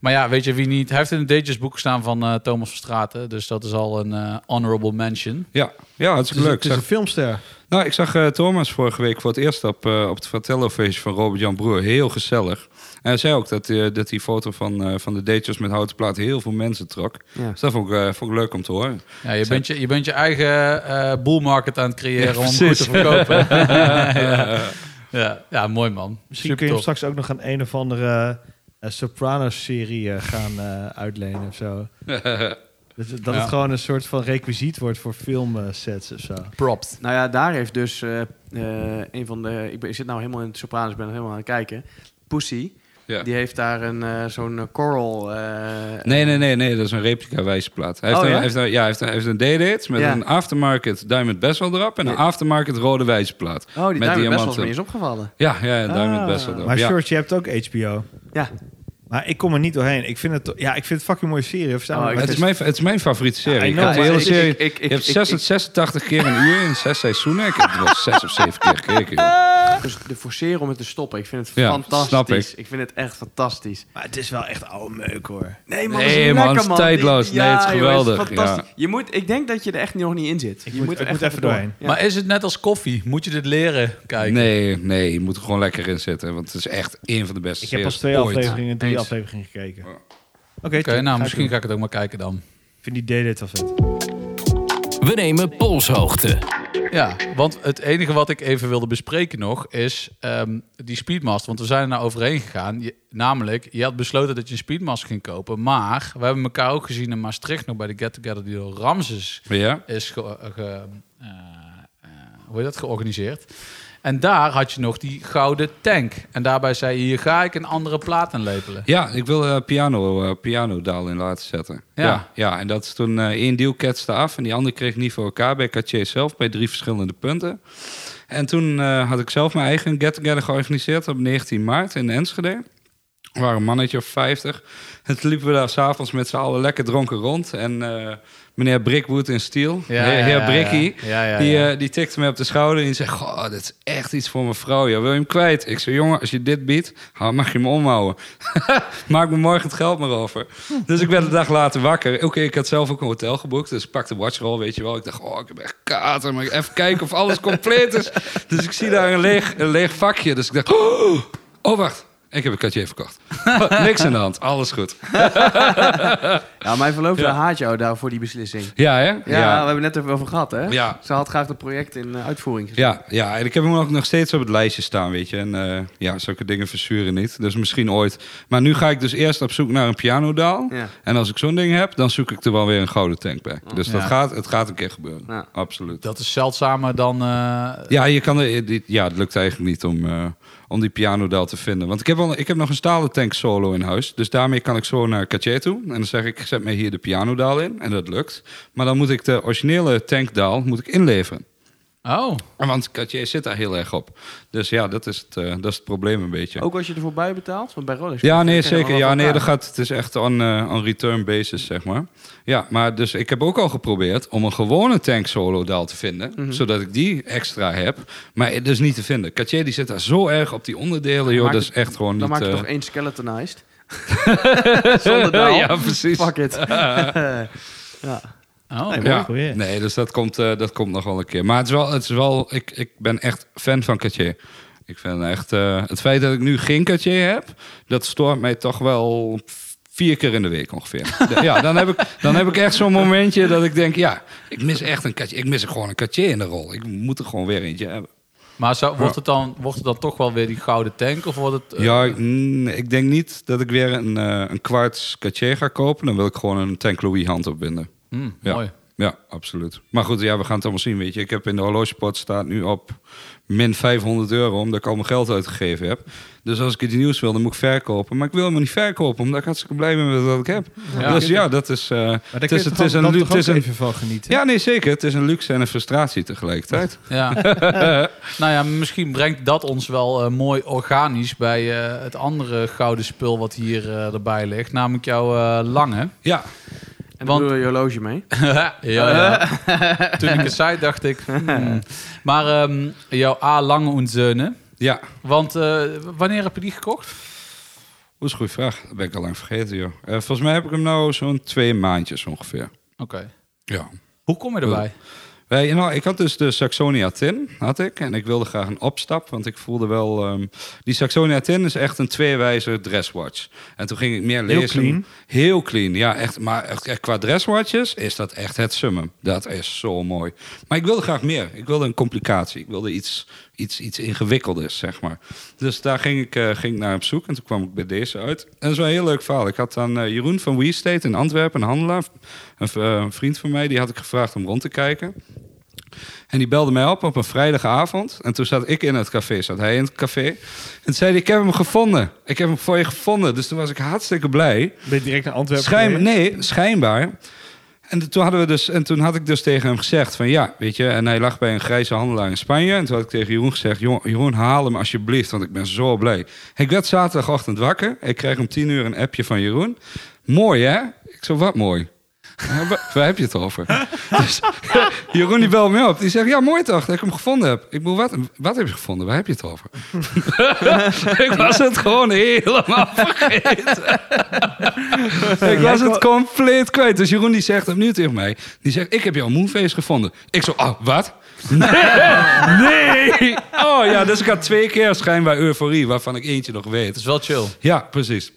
[SPEAKER 6] Maar ja, weet je wie niet? Hij heeft in het Datejust boek gestaan van eh, Thomas van Straten. Dus dat is al een eh, honorable mention.
[SPEAKER 2] Ja, ja
[SPEAKER 5] Het
[SPEAKER 2] hartstikke
[SPEAKER 5] is,
[SPEAKER 2] leuk.
[SPEAKER 5] Dus het is
[SPEAKER 2] Zag-
[SPEAKER 5] een filmster.
[SPEAKER 2] Nou, ik zag eh, Thomas vorige week voor het eerst op, eh, op het Fratello-feestje van Robert-Jan Broer. Heel gezellig. En hij zei ook dat, eh, dat die foto van, eh, van de datejes met houten plaat heel veel mensen trok.
[SPEAKER 7] Ja.
[SPEAKER 2] Dus dat vond ik, eh, vond ik leuk om te horen.
[SPEAKER 6] Ja, je, bent je, je bent je eigen eh bull market aan het creëren om hem goed
[SPEAKER 2] precies.
[SPEAKER 6] te verkopen. ja. Ja. ja, mooi man.
[SPEAKER 5] Misschien
[SPEAKER 6] Super
[SPEAKER 5] kun je hem
[SPEAKER 6] tof.
[SPEAKER 5] straks ook nog aan een of andere eh Sopranos-serie eh, gaan eh, uitlenen of zo. dat dat
[SPEAKER 6] Ja.
[SPEAKER 5] het gewoon een soort van requisiet wordt voor filmsets of zo.
[SPEAKER 6] Propt.
[SPEAKER 7] Nou ja, daar heeft dus eh, eh, een van de... Ik, ben, ik zit nou helemaal in het Sopranos, ik ben er helemaal aan het kijken. Pussy,
[SPEAKER 2] Ja.
[SPEAKER 7] die heeft daar een eh, zo'n eh, coral... eh,
[SPEAKER 2] Nee, nee, nee, nee, dat is een replica wijsplaat. Hij heeft
[SPEAKER 7] Oh,
[SPEAKER 2] een,
[SPEAKER 7] ja?
[SPEAKER 2] heeft een, ja, hij heeft een, hij heeft een day-date met
[SPEAKER 7] Ja.
[SPEAKER 2] een aftermarket Diamond Bessel erop en een aftermarket rode wijsplaat.
[SPEAKER 7] Oh, die
[SPEAKER 2] met
[SPEAKER 7] daar best wel eens
[SPEAKER 2] diamanten.
[SPEAKER 7] mee is opgevallen.
[SPEAKER 2] Ja, ja, ja, Diamond
[SPEAKER 7] Ah.
[SPEAKER 2] Bessel erop.
[SPEAKER 5] Maar
[SPEAKER 2] ja.
[SPEAKER 5] Short, je hebt ook HBO.
[SPEAKER 7] Ja.
[SPEAKER 5] Maar ik kom er niet doorheen. Ik vind het, to- ja, ik vind het fucking mooie serie. Of staan
[SPEAKER 7] Oh,
[SPEAKER 5] we-
[SPEAKER 7] ik
[SPEAKER 5] het
[SPEAKER 2] Het is, mijn, het is mijn favoriete serie.
[SPEAKER 5] Ja, I
[SPEAKER 2] ik
[SPEAKER 5] know,
[SPEAKER 2] heb de
[SPEAKER 5] maar
[SPEAKER 2] hele
[SPEAKER 5] ik-
[SPEAKER 2] serie.
[SPEAKER 7] ik- ik- ik-
[SPEAKER 2] je hebt
[SPEAKER 7] ik-
[SPEAKER 2] 6
[SPEAKER 7] ik-
[SPEAKER 2] 86 keer een uur in zes seizoenen. Ik heb het wel zes of zeven keer gekeken. joh.
[SPEAKER 7] Dus de forceren om het te stoppen. Ik vind het
[SPEAKER 2] Ja,
[SPEAKER 7] fantastisch.
[SPEAKER 2] snap ik.
[SPEAKER 7] ik vind het echt fantastisch.
[SPEAKER 5] maar het is wel echt oude meuk hoor.
[SPEAKER 7] Nee,
[SPEAKER 2] man, dat is Nee, lekker, man, het is man. tijdloos. Nee, het is geweldig,
[SPEAKER 7] fantastisch. Je moet, ik denk dat je er echt nog niet in zit.
[SPEAKER 5] Ik
[SPEAKER 7] je
[SPEAKER 5] moet-
[SPEAKER 7] er
[SPEAKER 5] ik
[SPEAKER 7] echt
[SPEAKER 5] moet even doorheen.
[SPEAKER 7] Ja.
[SPEAKER 6] Maar is het net als koffie? Moet je dit leren?
[SPEAKER 5] Ah.
[SPEAKER 6] Kijk.
[SPEAKER 2] Nee, nee, je moet er gewoon lekker in zitten. Want het is echt één van de beste
[SPEAKER 5] Ik heb pas
[SPEAKER 2] series
[SPEAKER 5] twee
[SPEAKER 2] ooit.
[SPEAKER 5] afleveringen, drie
[SPEAKER 7] Eens.
[SPEAKER 5] afleveringen gekeken.
[SPEAKER 2] Ja.
[SPEAKER 5] Oké,
[SPEAKER 6] Oké,
[SPEAKER 5] Tim,
[SPEAKER 6] nou
[SPEAKER 5] ga
[SPEAKER 6] misschien
[SPEAKER 5] ik
[SPEAKER 6] ga ik het ook maar kijken dan.
[SPEAKER 5] doen. Ik vind die D-date wel vet.
[SPEAKER 3] We nemen polshoogte.
[SPEAKER 6] Ja, want het enige wat ik even wilde bespreken nog is ehm, die Speedmaster. Want we zijn er nou overheen gegaan. Je- namelijk, je had besloten dat je een Speedmaster ging kopen. Maar we hebben elkaar ook gezien in Maastricht nog bij de Get Together die door Ramses
[SPEAKER 2] Ja?
[SPEAKER 6] is ge- eh, ge- eh, eh, hoe heet dat, georganiseerd. En daar had je nog die gouden tank. En daarbij zei je, hier ga ik een andere plaat aan lepelen.
[SPEAKER 2] Ja, ik wil eh, piano, eh, piano daal in laten zetten.
[SPEAKER 6] Ja.
[SPEAKER 2] Ja. ja. en dat is toen eh één deal ketste af en die andere kreeg ik niet voor elkaar bij Cartier zelf bij drie verschillende punten. En toen eh, had ik zelf mijn eigen get-together georganiseerd op 19 maart in Enschede. We waren een mannetje of 50. En toen liepen we daar s'avonds met z'n allen lekker dronken rond. En eh, meneer Brickwood in Steel, heer, heer Brickie,
[SPEAKER 6] Ja, ja, ja.
[SPEAKER 2] die, eh, die tikte me op de schouder en die zei... Goh, dit is echt iets voor mijn vrouw. Ja, wil je hem kwijt? Ik zei, jongen, als je dit biedt, ha, mag je hem omhouden. Maak me morgen het geld maar over. Dus ik werd een dag later wakker. Oké, ik had zelf ook een hotel geboekt. Dus ik pakte watchroll, weet je wel. Ik dacht, oh, ik heb echt kater. Maar even kijken of alles compleet is. Dus ik zie daar een leeg, een leeg vakje. Dus ik dacht, oh, oh, wacht. Ik heb een katje verkocht. Niks aan de hand. Alles goed.
[SPEAKER 7] Ja, mijn verloofde
[SPEAKER 2] Ja.
[SPEAKER 7] haat jou daar voor die beslissing.
[SPEAKER 2] Ja, hè?
[SPEAKER 7] Ja, we hebben het net even over gehad, hè?
[SPEAKER 2] Ja.
[SPEAKER 7] Ze had graag het project in eh, uitvoering gezet.
[SPEAKER 2] Ja, ja, en ik heb hem ook nog steeds op het lijstje staan, weet je. En eh, ja, zulke dingen verzuren niet. Dus misschien ooit. Maar nu ga ik dus eerst op zoek naar een pianodaal.
[SPEAKER 7] Ja.
[SPEAKER 2] En als ik zo'n ding heb, dan zoek ik er wel weer een gouden tank bij. Dus dat
[SPEAKER 6] Ja.
[SPEAKER 2] gaat, het gaat een keer gebeuren.
[SPEAKER 7] Ja.
[SPEAKER 2] Absoluut.
[SPEAKER 6] Dat is zeldzamer dan... eh,
[SPEAKER 2] Ja, je kan er, dit- ja, het lukt eigenlijk niet om, eh, om die pianodaal te vinden. Want ik heb, al, ik heb nog een stalen tank solo in huis. Dus daarmee kan ik zo naar Katje toe. En dan zeg ik, zet mij hier de pianodaal in. En dat lukt. Maar dan moet ik de originele tankdaal moet ik inleveren.
[SPEAKER 6] Oh,
[SPEAKER 2] En Want Cartier zit daar heel erg op. Dus ja, dat is het, eh, dat is het probleem een beetje.
[SPEAKER 7] Ook als je ervoor bij betaalt? Want bij Rolex...
[SPEAKER 2] ja, nee,
[SPEAKER 7] Kijk,
[SPEAKER 2] zeker.
[SPEAKER 7] allemaal
[SPEAKER 2] Ja,
[SPEAKER 7] van
[SPEAKER 2] nee, dat
[SPEAKER 7] elkaar.
[SPEAKER 2] gaat, het is echt on, eh, on return basis, zeg maar. Ja, maar dus ik heb ook al geprobeerd om een gewone tank solo daal te vinden.
[SPEAKER 7] Mhm.
[SPEAKER 2] Zodat ik die extra heb. Maar het is niet te vinden. Cartier die zit daar zo erg op die onderdelen, joh.
[SPEAKER 7] maakt
[SPEAKER 2] Dat is
[SPEAKER 7] het-
[SPEAKER 2] echt gewoon
[SPEAKER 7] Dan
[SPEAKER 2] niet...
[SPEAKER 7] maak je
[SPEAKER 2] eh,
[SPEAKER 7] toch één skeletonized? Zonder daal.
[SPEAKER 2] ja, precies.
[SPEAKER 7] Fuck it. ja.
[SPEAKER 6] oh.
[SPEAKER 7] Nee,
[SPEAKER 2] Ja.
[SPEAKER 5] Goeie.
[SPEAKER 2] Nee, dus dat komt, eh, dat komt nog wel een keer. Maar het is wel, het is wel ik, ik ben echt fan van Cartier. Ik vind echt, eh, het feit dat ik nu geen Cartier heb, dat stoort mij toch wel vier keer in de week ongeveer. ja, dan heb ik, dan heb ik echt zo'n momentje dat ik denk, ja, ik mis echt een Cartier. Ik mis gewoon een Cartier in de rol. Ik moet er gewoon weer eentje hebben.
[SPEAKER 6] Maar zou, wordt, het dan, wordt het dan toch wel weer die gouden tank? Of wordt het... eh,
[SPEAKER 2] Ja, ik, mm, ik denk niet dat ik weer een, eh een kwarts Cartier ga kopen. Dan wil ik gewoon een Tank Louis hand opbinden.
[SPEAKER 6] hmm,
[SPEAKER 2] Ja.
[SPEAKER 6] Mooi.
[SPEAKER 2] Ja, absoluut. Maar goed, ja, we gaan het allemaal zien, weet je. Ik heb in de horlogepot staat nu op min 500 euro, omdat ik al mijn geld uitgegeven heb. Dus als ik iets nieuws wil, dan moet ik verkopen. Maar ik wil hem niet verkopen, omdat ik hartstikke blij ben met wat ik heb.
[SPEAKER 6] Ja.
[SPEAKER 2] Dus ja, dat is... eh,
[SPEAKER 5] Maar
[SPEAKER 2] het
[SPEAKER 5] daar kun
[SPEAKER 2] is,
[SPEAKER 5] je
[SPEAKER 2] het
[SPEAKER 5] toch
[SPEAKER 2] is
[SPEAKER 5] ook-
[SPEAKER 2] een
[SPEAKER 5] dan
[SPEAKER 2] luxe...
[SPEAKER 5] toch
[SPEAKER 2] het is
[SPEAKER 5] ook
[SPEAKER 2] een-
[SPEAKER 5] even van genieten.
[SPEAKER 2] Ja, nee, zeker. Het is een luxe en een frustratie tegelijkertijd.
[SPEAKER 6] Ja. nou ja, misschien brengt dat ons wel eh, mooi organisch bij eh, het andere gouden spul wat hier eh, erbij ligt. Namelijk jouw eh, lange.
[SPEAKER 2] Ja,
[SPEAKER 7] En dan
[SPEAKER 6] Want-
[SPEAKER 7] doe je je horloge mee.
[SPEAKER 6] ja, ja. Eh, Toen ik het zei, dacht ik... hmm. Maar ehm, jouw A lange en zeunen.
[SPEAKER 2] ja.
[SPEAKER 6] Want eh, wanneer heb je die gekocht?
[SPEAKER 2] Dat is een goede vraag. Dat ben ik al lang vergeten, joh. Eh, volgens mij heb ik hem nou zo'n twee maandjes ongeveer.
[SPEAKER 6] Oké.
[SPEAKER 2] Ja.
[SPEAKER 6] Hoe kom je erbij?
[SPEAKER 2] Wij, nou, ik had dus de Saxonia Tin, had ik. En ik wilde graag een opstap, want ik voelde wel... ehm, die Saxonia Tin is echt een tweewijzer dresswatch. En toen ging ik meer
[SPEAKER 5] Heel
[SPEAKER 2] lezen.
[SPEAKER 5] clean.
[SPEAKER 2] Heel clean, ja. Echt, maar echt, echt qua dresswatches is dat echt het summum. Dat is zo mooi. Maar ik wilde graag meer. Ik wilde een complicatie. Ik wilde iets, iets, iets ingewikkelders, zeg maar. Dus daar ging ik, eh, ging ik naar op zoek. En toen kwam ik bij deze uit. En dat is wel een heel leuk verhaal. Ik had aan eh, Jeroen van We State in Antwerpen, een handelaar... Een, v- eh, een vriend van mij, die had ik gevraagd om rond te kijken... En die belde mij op op een vrijdagavond. En toen zat ik in het café, zat hij in het café. En toen zei hij, ik heb hem gevonden. Ik heb hem voor je gevonden. Dus toen was ik hartstikke blij.
[SPEAKER 5] Ben je direct naar Antwerpen
[SPEAKER 2] Schijn,
[SPEAKER 5] gereden?
[SPEAKER 2] nee, schijnbaar. En toen, hadden we dus, en toen had ik dus tegen hem gezegd van ja, weet je, en hij lag bij een grijze handelaar in Spanje. En toen had ik tegen Jeroen gezegd, "Jong- Jeroen haal hem alsjeblieft, want ik ben zo blij. Ik werd zaterdagochtend wakker. Ik kreeg om tien uur een appje van Jeroen. Mooi hè? Ik zo, wat mooi? Ja, wa- Waar heb je het over? Dus, Jeroen die belt me op. Die zegt, ja mooi toch dat ik hem gevonden heb. Ik bedoel, wat, wat heb je gevonden? Waar heb je het over? ik was het gewoon helemaal vergeten. Ik was het compleet kwijt. Dus Jeroen die zegt opnieuw tegen mij. Die zegt, ik heb jouw moonface gevonden. Ik zo, oh, wat? Nee, nee. Oh ja, dus ik had twee keer schijnbaar euforie, waarvan ik eentje nog
[SPEAKER 6] Het
[SPEAKER 2] weet.
[SPEAKER 6] is wel chill.
[SPEAKER 2] Ja, precies.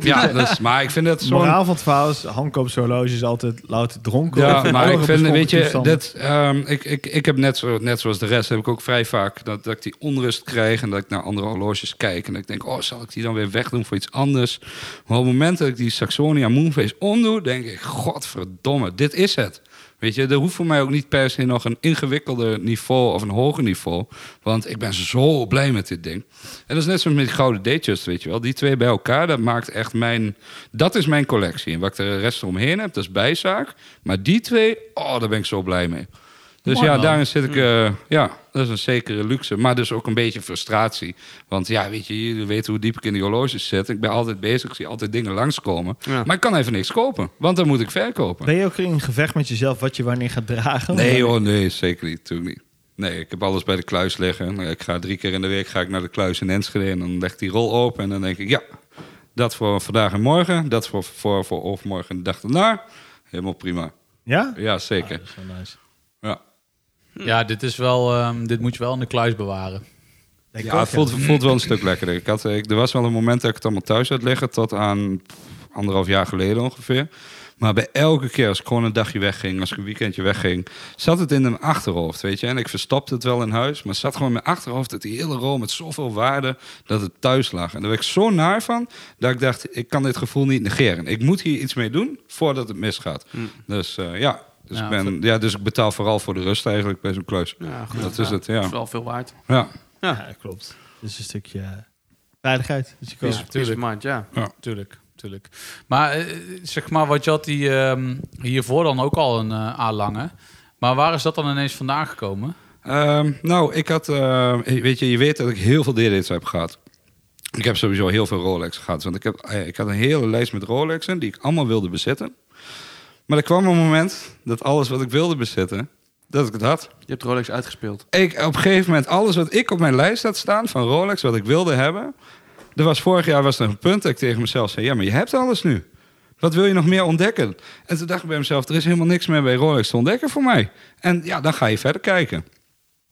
[SPEAKER 2] Ja, dat is, maar ik vind dat
[SPEAKER 5] Het
[SPEAKER 2] zo'n
[SPEAKER 5] moraal van het verhaal is, Hankoop's horloge is altijd louter dronken.
[SPEAKER 2] Ja,
[SPEAKER 5] Of in
[SPEAKER 2] maar
[SPEAKER 5] andere
[SPEAKER 2] ik vind, weet je,
[SPEAKER 5] beschonken
[SPEAKER 2] dat, ehm, ik, ik, ik heb net, zo, net zoals de rest, heb ik ook vrij vaak dat, dat ik die onrust krijg en dat ik naar andere horloges kijk. En dat ik denk, oh, zal ik die dan weer wegdoen voor iets anders? Maar op het moment dat ik die Saxonia Moonface omdoe, denk ik, godverdomme, dit is het. Weet je, er hoeft voor mij ook niet per se nog een ingewikkelder niveau of een hoger niveau. Want ik ben zo blij met dit ding. En dat is net zoals met die gouden Datejust, weet je wel. Die twee bij elkaar, dat maakt echt mijn... Dat is mijn collectie. En wat ik de rest omheen heb, dat is bijzaak. Maar die twee, oh, daar ben ik zo blij mee. Dus
[SPEAKER 6] Mooi
[SPEAKER 2] ja,
[SPEAKER 6] man. Hm.
[SPEAKER 2] daarin zit ik... eh, ja, dat is een zekere luxe. Maar dus ook een beetje frustratie. Want ja, weet je, jullie weten hoe diep ik in die horloges zit. Ik ben altijd bezig, ik zie altijd dingen langskomen.
[SPEAKER 7] Ja.
[SPEAKER 2] Maar ik kan even niks kopen, want dan moet ik
[SPEAKER 5] toestand.
[SPEAKER 2] verkopen.
[SPEAKER 5] Ben je ook in gevecht met jezelf wat je wanneer gaat dragen?
[SPEAKER 2] Nee
[SPEAKER 5] Of-
[SPEAKER 2] hoor, nee, zeker niet. Natuurlijk niet. Nee, ik heb alles bij de kluis liggen. Ik ga drie keer in de week ga ik naar de kluis in Enschede en dan legt die rol open en dan denk ik, ja, dat voor vandaag en morgen, dat voor, voor, voor overmorgen en de dag daarna. Helemaal prima.
[SPEAKER 5] Ja?
[SPEAKER 2] Ja, zeker.
[SPEAKER 6] Dat is wel nice.
[SPEAKER 2] Ja.
[SPEAKER 6] Ja, dit is wel, ehm, dit moet je wel in de kluis bewaren.
[SPEAKER 5] Denk ik
[SPEAKER 2] Ja,
[SPEAKER 5] ook,
[SPEAKER 2] het voelt, voelt wel een stuk lekkerder. Ik had, eh, ik, er was wel een moment dat ik het allemaal thuis had liggen, tot aan pff, anderhalf jaar geleden ongeveer. Maar bij elke keer, als ik gewoon een dagje wegging, als ik een weekendje wegging, zat het in mijn achterhoofd, weet je. En ik verstopte het wel in huis, maar het zat gewoon in mijn achterhoofd dat die hele rol met zoveel waarde, dat het thuis lag. En daar werd ik zo naar van, dat ik dacht, ik kan dit gevoel niet negeren. Ik moet hier iets mee doen, voordat het misgaat. Dus eh, ja... Dus,
[SPEAKER 6] Ja,
[SPEAKER 2] ik ben, ja, dus ik betaal vooral voor de rust eigenlijk bij zo'n kluis.
[SPEAKER 7] Ja, Nou, goed.
[SPEAKER 2] dat is het,
[SPEAKER 7] Dat
[SPEAKER 2] ja.
[SPEAKER 7] is wel veel waard.
[SPEAKER 2] ja.
[SPEAKER 5] Ja, klopt. Dus een stukje eh, veiligheid. Dus je kan-
[SPEAKER 6] Ja,
[SPEAKER 7] Peace of
[SPEAKER 6] tuurlijk,
[SPEAKER 7] mind, ja.
[SPEAKER 6] tuurlijk, tuurlijk. Maar eh, zeg maar, wat je had die, ehm, hiervoor dan ook al een eh A-lange. Maar waar is dat dan ineens vandaan gekomen?
[SPEAKER 2] Ehm, nou, ik had, ehm, weet je, je weet dat ik heel veel D-dates heb gehad. Ik heb sowieso heel veel Rolex gehad. Want ik, heb, eh, ik had een hele lijst met Rolexen die ik allemaal wilde bezitten. Maar er kwam een moment dat alles wat ik wilde bezitten, dat ik het had.
[SPEAKER 7] Je hebt Rolex uitgespeeld.
[SPEAKER 2] Ik, op een gegeven moment, alles wat ik op mijn lijst had staan van Rolex, wat ik wilde hebben. Er was vorig jaar was er een punt dat ik tegen mezelf zei: Ja, maar je hebt alles nu. Wat wil je nog meer ontdekken? En toen dacht ik bij mezelf: Er is helemaal niks meer bij Rolex te ontdekken voor mij. En ja, dan ga je verder kijken.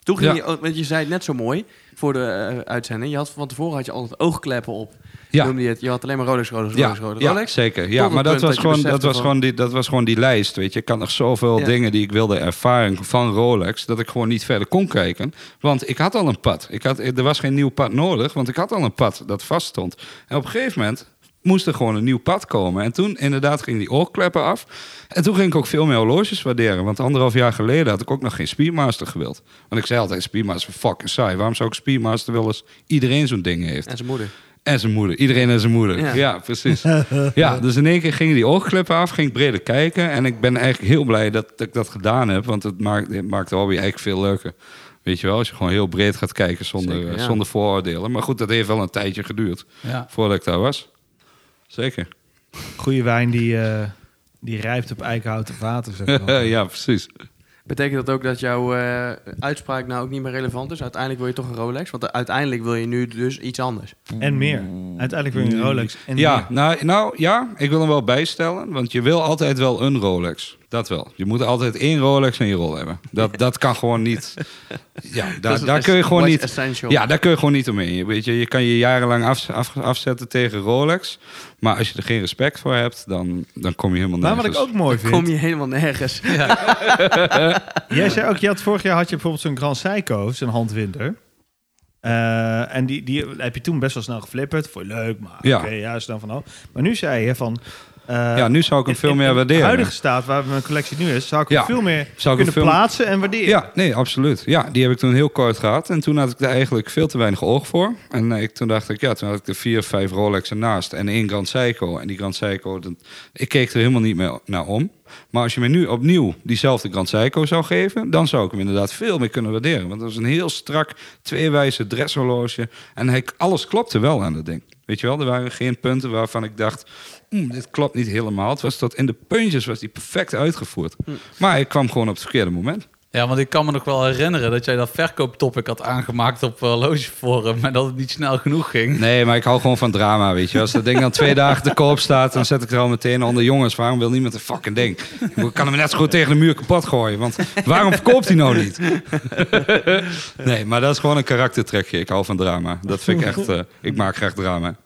[SPEAKER 7] Toen ging
[SPEAKER 2] Ja.
[SPEAKER 7] je, ook- want je zei het net zo mooi voor de eh, uitzending. Je had, van tevoren had je altijd oogkleppen op.
[SPEAKER 2] Ja.
[SPEAKER 7] Noemde je, het, je had alleen maar Rolex, Rolex, Rolex, Rolex. Rolex.
[SPEAKER 2] zeker. Ja,
[SPEAKER 7] het
[SPEAKER 2] maar dat
[SPEAKER 7] punt
[SPEAKER 2] was,
[SPEAKER 7] dat je
[SPEAKER 2] gewoon, dat,
[SPEAKER 7] besefte
[SPEAKER 2] was
[SPEAKER 7] van-
[SPEAKER 2] gewoon die, dat was gewoon die lijst, weet je. Ik had nog zoveel
[SPEAKER 7] Ja.
[SPEAKER 2] dingen die ik wilde ervaren van Rolex... dat ik gewoon niet verder kon kijken. Want ik had al een pad. Ik had, er was geen nieuw pad nodig, want ik had al een pad dat vaststond. En op een gegeven moment moest er gewoon een nieuw pad komen. En toen inderdaad ging die oorkleppen af. En toen ging ik ook veel meer horloges waarderen. Want anderhalf jaar geleden had ik ook nog geen Speedmaster gewild. Want ik zei altijd, Speedmaster, fucking saai. Waarom zou ik Speedmaster willen als iedereen zo'n ding heeft?
[SPEAKER 7] En zijn moeder.
[SPEAKER 2] En zijn moeder. Iedereen en zijn moeder.
[SPEAKER 7] Ja.
[SPEAKER 2] Ja, precies. ja, dus in één keer gingen die oogkleppen af, ging ik breder kijken. En ik ben eigenlijk heel blij dat, dat ik dat gedaan heb. Want het maakt, het maakt de hobby eigenlijk veel leuker. Weet je wel, als je gewoon heel breed gaat kijken zonder,
[SPEAKER 7] Zeker, ja.
[SPEAKER 2] zonder vooroordelen. Maar goed, dat heeft wel een tijdje geduurd
[SPEAKER 6] Ja.
[SPEAKER 2] voordat ik daar was. Zeker.
[SPEAKER 5] Goede wijn die, eh, die rijpt op eikenhouten vaten. Zeg maar.
[SPEAKER 2] ja, precies.
[SPEAKER 7] Betekent dat ook dat jouw eh, uitspraak nou ook niet meer relevant is? Uiteindelijk wil je toch een Rolex? Want uiteindelijk wil je nu dus iets anders.
[SPEAKER 5] En meer. Uiteindelijk weer een Rolex. En
[SPEAKER 2] Ja,
[SPEAKER 5] meer.
[SPEAKER 2] nou, nou ja, ik wil hem wel bijstellen. Want je wil altijd wel een Rolex. Dat wel. Je moet altijd één Rolex in je rol hebben. Dat, dat kan gewoon niet. Ja,
[SPEAKER 7] Dat
[SPEAKER 2] daar,
[SPEAKER 7] is
[SPEAKER 2] daar kun je gewoon
[SPEAKER 7] what's
[SPEAKER 2] niet.
[SPEAKER 7] essential.
[SPEAKER 2] Ja, daar kun je gewoon niet omheen. Je, weet je, je kan je jarenlang af, af- afzetten tegen Rolex. Maar als je er geen respect voor hebt, dan, dan kom je helemaal
[SPEAKER 5] Maar
[SPEAKER 2] nergens.
[SPEAKER 5] Nou, wat ik ook mooi vind.
[SPEAKER 7] Kom je helemaal nergens.
[SPEAKER 5] Jij zei ook, je had, vorig jaar had je bijvoorbeeld zo'n Grand Seiko, zo'n handwinder. Eh, en die, die heb je toen best wel snel geflipperd. Vond je leuk, maar
[SPEAKER 2] Ja.
[SPEAKER 5] oké, ja, is dan van oh. Maar nu zei je van... eh,
[SPEAKER 2] ja, nu zou ik hem
[SPEAKER 5] in-
[SPEAKER 2] veel
[SPEAKER 5] in-
[SPEAKER 2] meer
[SPEAKER 5] in
[SPEAKER 2] waarderen.
[SPEAKER 5] de huidige staat waar mijn collectie nu is, zou ik hem
[SPEAKER 2] Ja.
[SPEAKER 5] veel meer
[SPEAKER 2] Zou ik hem
[SPEAKER 5] kunnen
[SPEAKER 2] veel-
[SPEAKER 5] plaatsen en waarderen.
[SPEAKER 2] Ja, nee, absoluut. Ja, die heb ik toen heel kort gehad. En toen had ik daar eigenlijk veel te weinig oog voor. En eh, ik, toen dacht ik, ja, toen had ik er vier, vijf Rolexen naast. En één Grand Seiko. En die Grand Seiko, dat- ik keek er helemaal niet meer naar om. Maar als je me nu opnieuw diezelfde Grand Seiko zou geven... dan zou ik hem inderdaad veel meer kunnen waarderen. Want dat was een heel strak, tweewijze dresshorloge. En hij, alles klopte wel aan dat ding. Weet je wel, er waren geen punten waarvan ik dacht... "Mm, dit klopt niet helemaal. Het was tot in de puntjes was die perfect uitgevoerd. Maar ik kwam gewoon op het verkeerde moment.
[SPEAKER 6] Ja, want ik kan me nog wel herinneren dat jij dat verkooptopic had aangemaakt op uh, Logeforum. En dat het niet snel genoeg ging.
[SPEAKER 2] Nee, maar ik hou gewoon van drama, weet je. Als dat ding dan twee dagen te koop staat, dan zet ik er al meteen onder. Jongens, waarom wil niemand een fucking ding? Ik kan hem net zo goed tegen de muur kapot gooien. Want waarom verkoopt hij nou niet? nee, maar dat is gewoon een karaktertrekje. Ik hou van drama. Dat vind ik echt... eh, ik maak graag drama.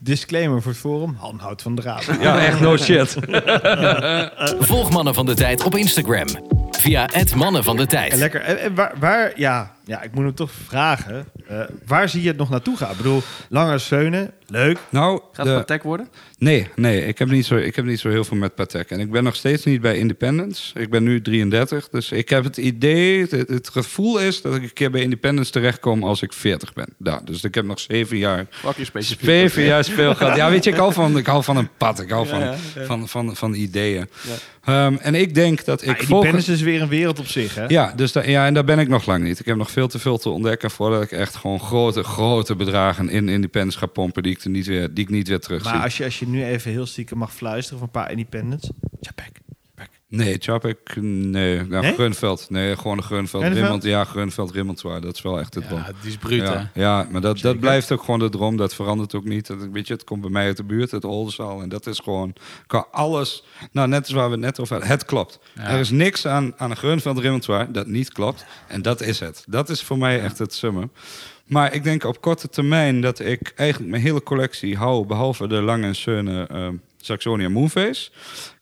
[SPEAKER 5] Disclaimer voor het forum. Han houdt van draad.
[SPEAKER 2] Ja, echt no shit.
[SPEAKER 3] Volg Mannen van de Tijd op Instagram. Via het Mannen van de
[SPEAKER 5] En
[SPEAKER 3] Tijd.
[SPEAKER 5] lekker. En, en waar, waar- ja, ja, ik moet hem toch vragen. eh, waar zie je het nog naartoe gaan? Ik bedoel, langer steunen, leuk.
[SPEAKER 2] Nou,
[SPEAKER 7] Gaat
[SPEAKER 2] de-
[SPEAKER 7] het Patek worden?
[SPEAKER 2] Nee, nee ik, heb niet zo, ik heb niet zo heel veel met Patek. En ik ben nog steeds niet bij Independence. Ik ben nu 33, dus ik heb het idee, het, het gevoel is dat ik een keer bij Independence terechtkom als ik 40 ben. Nou, dus ik heb nog zeven jaar
[SPEAKER 7] Pak je specifiek.
[SPEAKER 2] Zeven jaar speelgeld. Ja, weet je, ik hou van, ik hou van een pad. Ik hou van, van, van, van ideeën. Ehm, en ik denk dat ik
[SPEAKER 5] Ik die
[SPEAKER 2] volgend-
[SPEAKER 5] pennis Ah, is weer een wereld op zich, hè?
[SPEAKER 2] ja, dus da- ja, en daar ben ik nog lang niet. Ik heb nog veel te veel te ontdekken voordat ik echt gewoon grote, grote bedragen in, in die pens ga pompen die ik, er niet, weer, die ik niet weer terug
[SPEAKER 5] Maar als je, als je nu even heel stiekem mag fluisteren van een paar independents. Chapek.
[SPEAKER 2] Nee, Chapek, nee. Nou,
[SPEAKER 5] Nee?
[SPEAKER 2] Grunveld, nee, gewoon Grunveld.
[SPEAKER 5] Grunveld?
[SPEAKER 2] Rimmelt, ja, Grunveld, Rimmeltwaar, dat is wel echt het dom.
[SPEAKER 6] Ja, die is bruut, hè?
[SPEAKER 2] Ja, ja, maar dat, dat blijft ook gewoon de droom. Dat verandert ook niet. Dat, weet je, het komt bij mij uit de buurt, het Oldenzaal. En dat is gewoon, kan alles... Nou, net als waar we het net over hadden. Het klopt. Er is niks aan, aan een Grunveld Remontoir dat niet klopt. En dat is het. Dat is voor mij echt het summum. Maar ik denk op korte termijn dat ik eigenlijk mijn hele collectie hou... behalve de Lange en Seune ehm, Saxonia Moonface...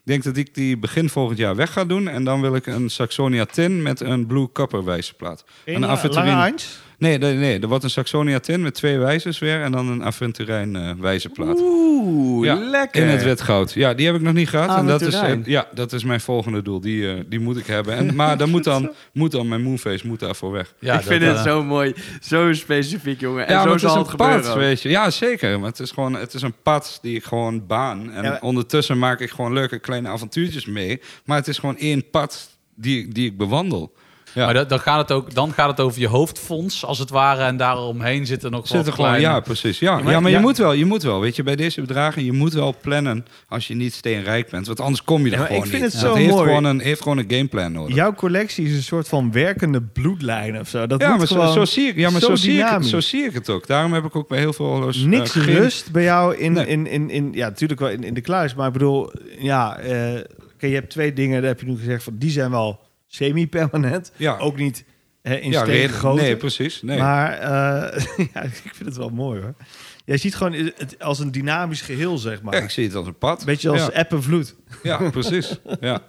[SPEAKER 2] Ik denk dat ik die begin volgend jaar weg ga doen. En dan wil ik een Saxonia tin met een Blue Copper wijzerplaat. Een aventurine.
[SPEAKER 5] eh, Lange Heinz?
[SPEAKER 2] Nee, nee, nee, er wordt een Saxonia tin met twee wijzers weer en dan een Aventurijn eh wijzerplaat.
[SPEAKER 7] Oeh,
[SPEAKER 2] ja,
[SPEAKER 7] lekker.
[SPEAKER 2] In het witgoud. Ja, die heb ik nog niet gehad. En dat is, eh,
[SPEAKER 7] Aventurijn.
[SPEAKER 2] ja, dat is mijn volgende doel. Die, eh, die moet ik hebben. En, maar dan moet, dan moet dan mijn moonface moet daarvoor weg.
[SPEAKER 6] Ja,
[SPEAKER 7] ik vind
[SPEAKER 6] dat,
[SPEAKER 7] het
[SPEAKER 6] eh,
[SPEAKER 7] zo mooi. Zo specifiek, jongen. En
[SPEAKER 2] ja, maar
[SPEAKER 7] zo
[SPEAKER 2] het is
[SPEAKER 7] zal
[SPEAKER 2] een
[SPEAKER 7] het gebeuren.
[SPEAKER 2] pad,
[SPEAKER 7] ook.
[SPEAKER 2] weet je. Ja, zeker. Maar het is gewoon het is een pad die ik gewoon baan. En
[SPEAKER 5] Ja, maar-
[SPEAKER 2] ondertussen maak ik gewoon leuke kleine avontuurtjes mee. Maar het is gewoon één pad die, die ik bewandel. Ja.
[SPEAKER 6] Maar dat, dan, gaat het ook, dan gaat het over je hoofdfonds, als het ware. En daaromheen zitten nog
[SPEAKER 2] Zit
[SPEAKER 6] wel
[SPEAKER 2] er gewoon,
[SPEAKER 6] kleine-
[SPEAKER 2] ja, precies. Ja, ja, maar, je, moet wel, je moet wel, weet je, bij deze bedragen, je moet wel plannen als je niet steenrijk bent. Want anders kom je er
[SPEAKER 5] Ja, maar
[SPEAKER 2] gewoon
[SPEAKER 5] ik vind
[SPEAKER 2] niet.
[SPEAKER 5] het
[SPEAKER 2] Ja,
[SPEAKER 5] zo
[SPEAKER 2] heeft
[SPEAKER 5] mooi.
[SPEAKER 2] Gewoon een, heeft gewoon een gameplan nodig.
[SPEAKER 5] Jouw collectie is een soort van werkende bloedlijn of zo. Dat
[SPEAKER 2] Ja,
[SPEAKER 5] moet
[SPEAKER 2] maar, zo,
[SPEAKER 5] gewoon
[SPEAKER 2] zo zie ik, ja, maar zo, zie ik, het-
[SPEAKER 5] dynamisch.
[SPEAKER 2] zo zie ik het ook. Daarom heb ik ook bij heel veel horloges... eh,
[SPEAKER 5] Niks
[SPEAKER 2] geen-
[SPEAKER 5] rust bij jou in,
[SPEAKER 2] Nee.
[SPEAKER 5] in, in, in, ja, natuurlijk wel in, in de kluis. Maar ik bedoel, ja, eh, oké, je hebt twee dingen, daar heb je nu gezegd van, die zijn wel semi-permanent.
[SPEAKER 2] Ja.
[SPEAKER 5] Ook niet eh, in
[SPEAKER 2] Ja,
[SPEAKER 5] steen
[SPEAKER 2] reden-
[SPEAKER 5] gegoten.
[SPEAKER 2] Nee, precies. Nee.
[SPEAKER 5] Maar eh, ja, ik vind het wel mooi hoor. Jij ziet gewoon het als een dynamisch geheel, zeg maar.
[SPEAKER 2] Ja, ik zie het als een pad.
[SPEAKER 5] Beetje als
[SPEAKER 2] Ja,
[SPEAKER 5] app en vloed.
[SPEAKER 2] ja, precies. Ja.
[SPEAKER 5] Ik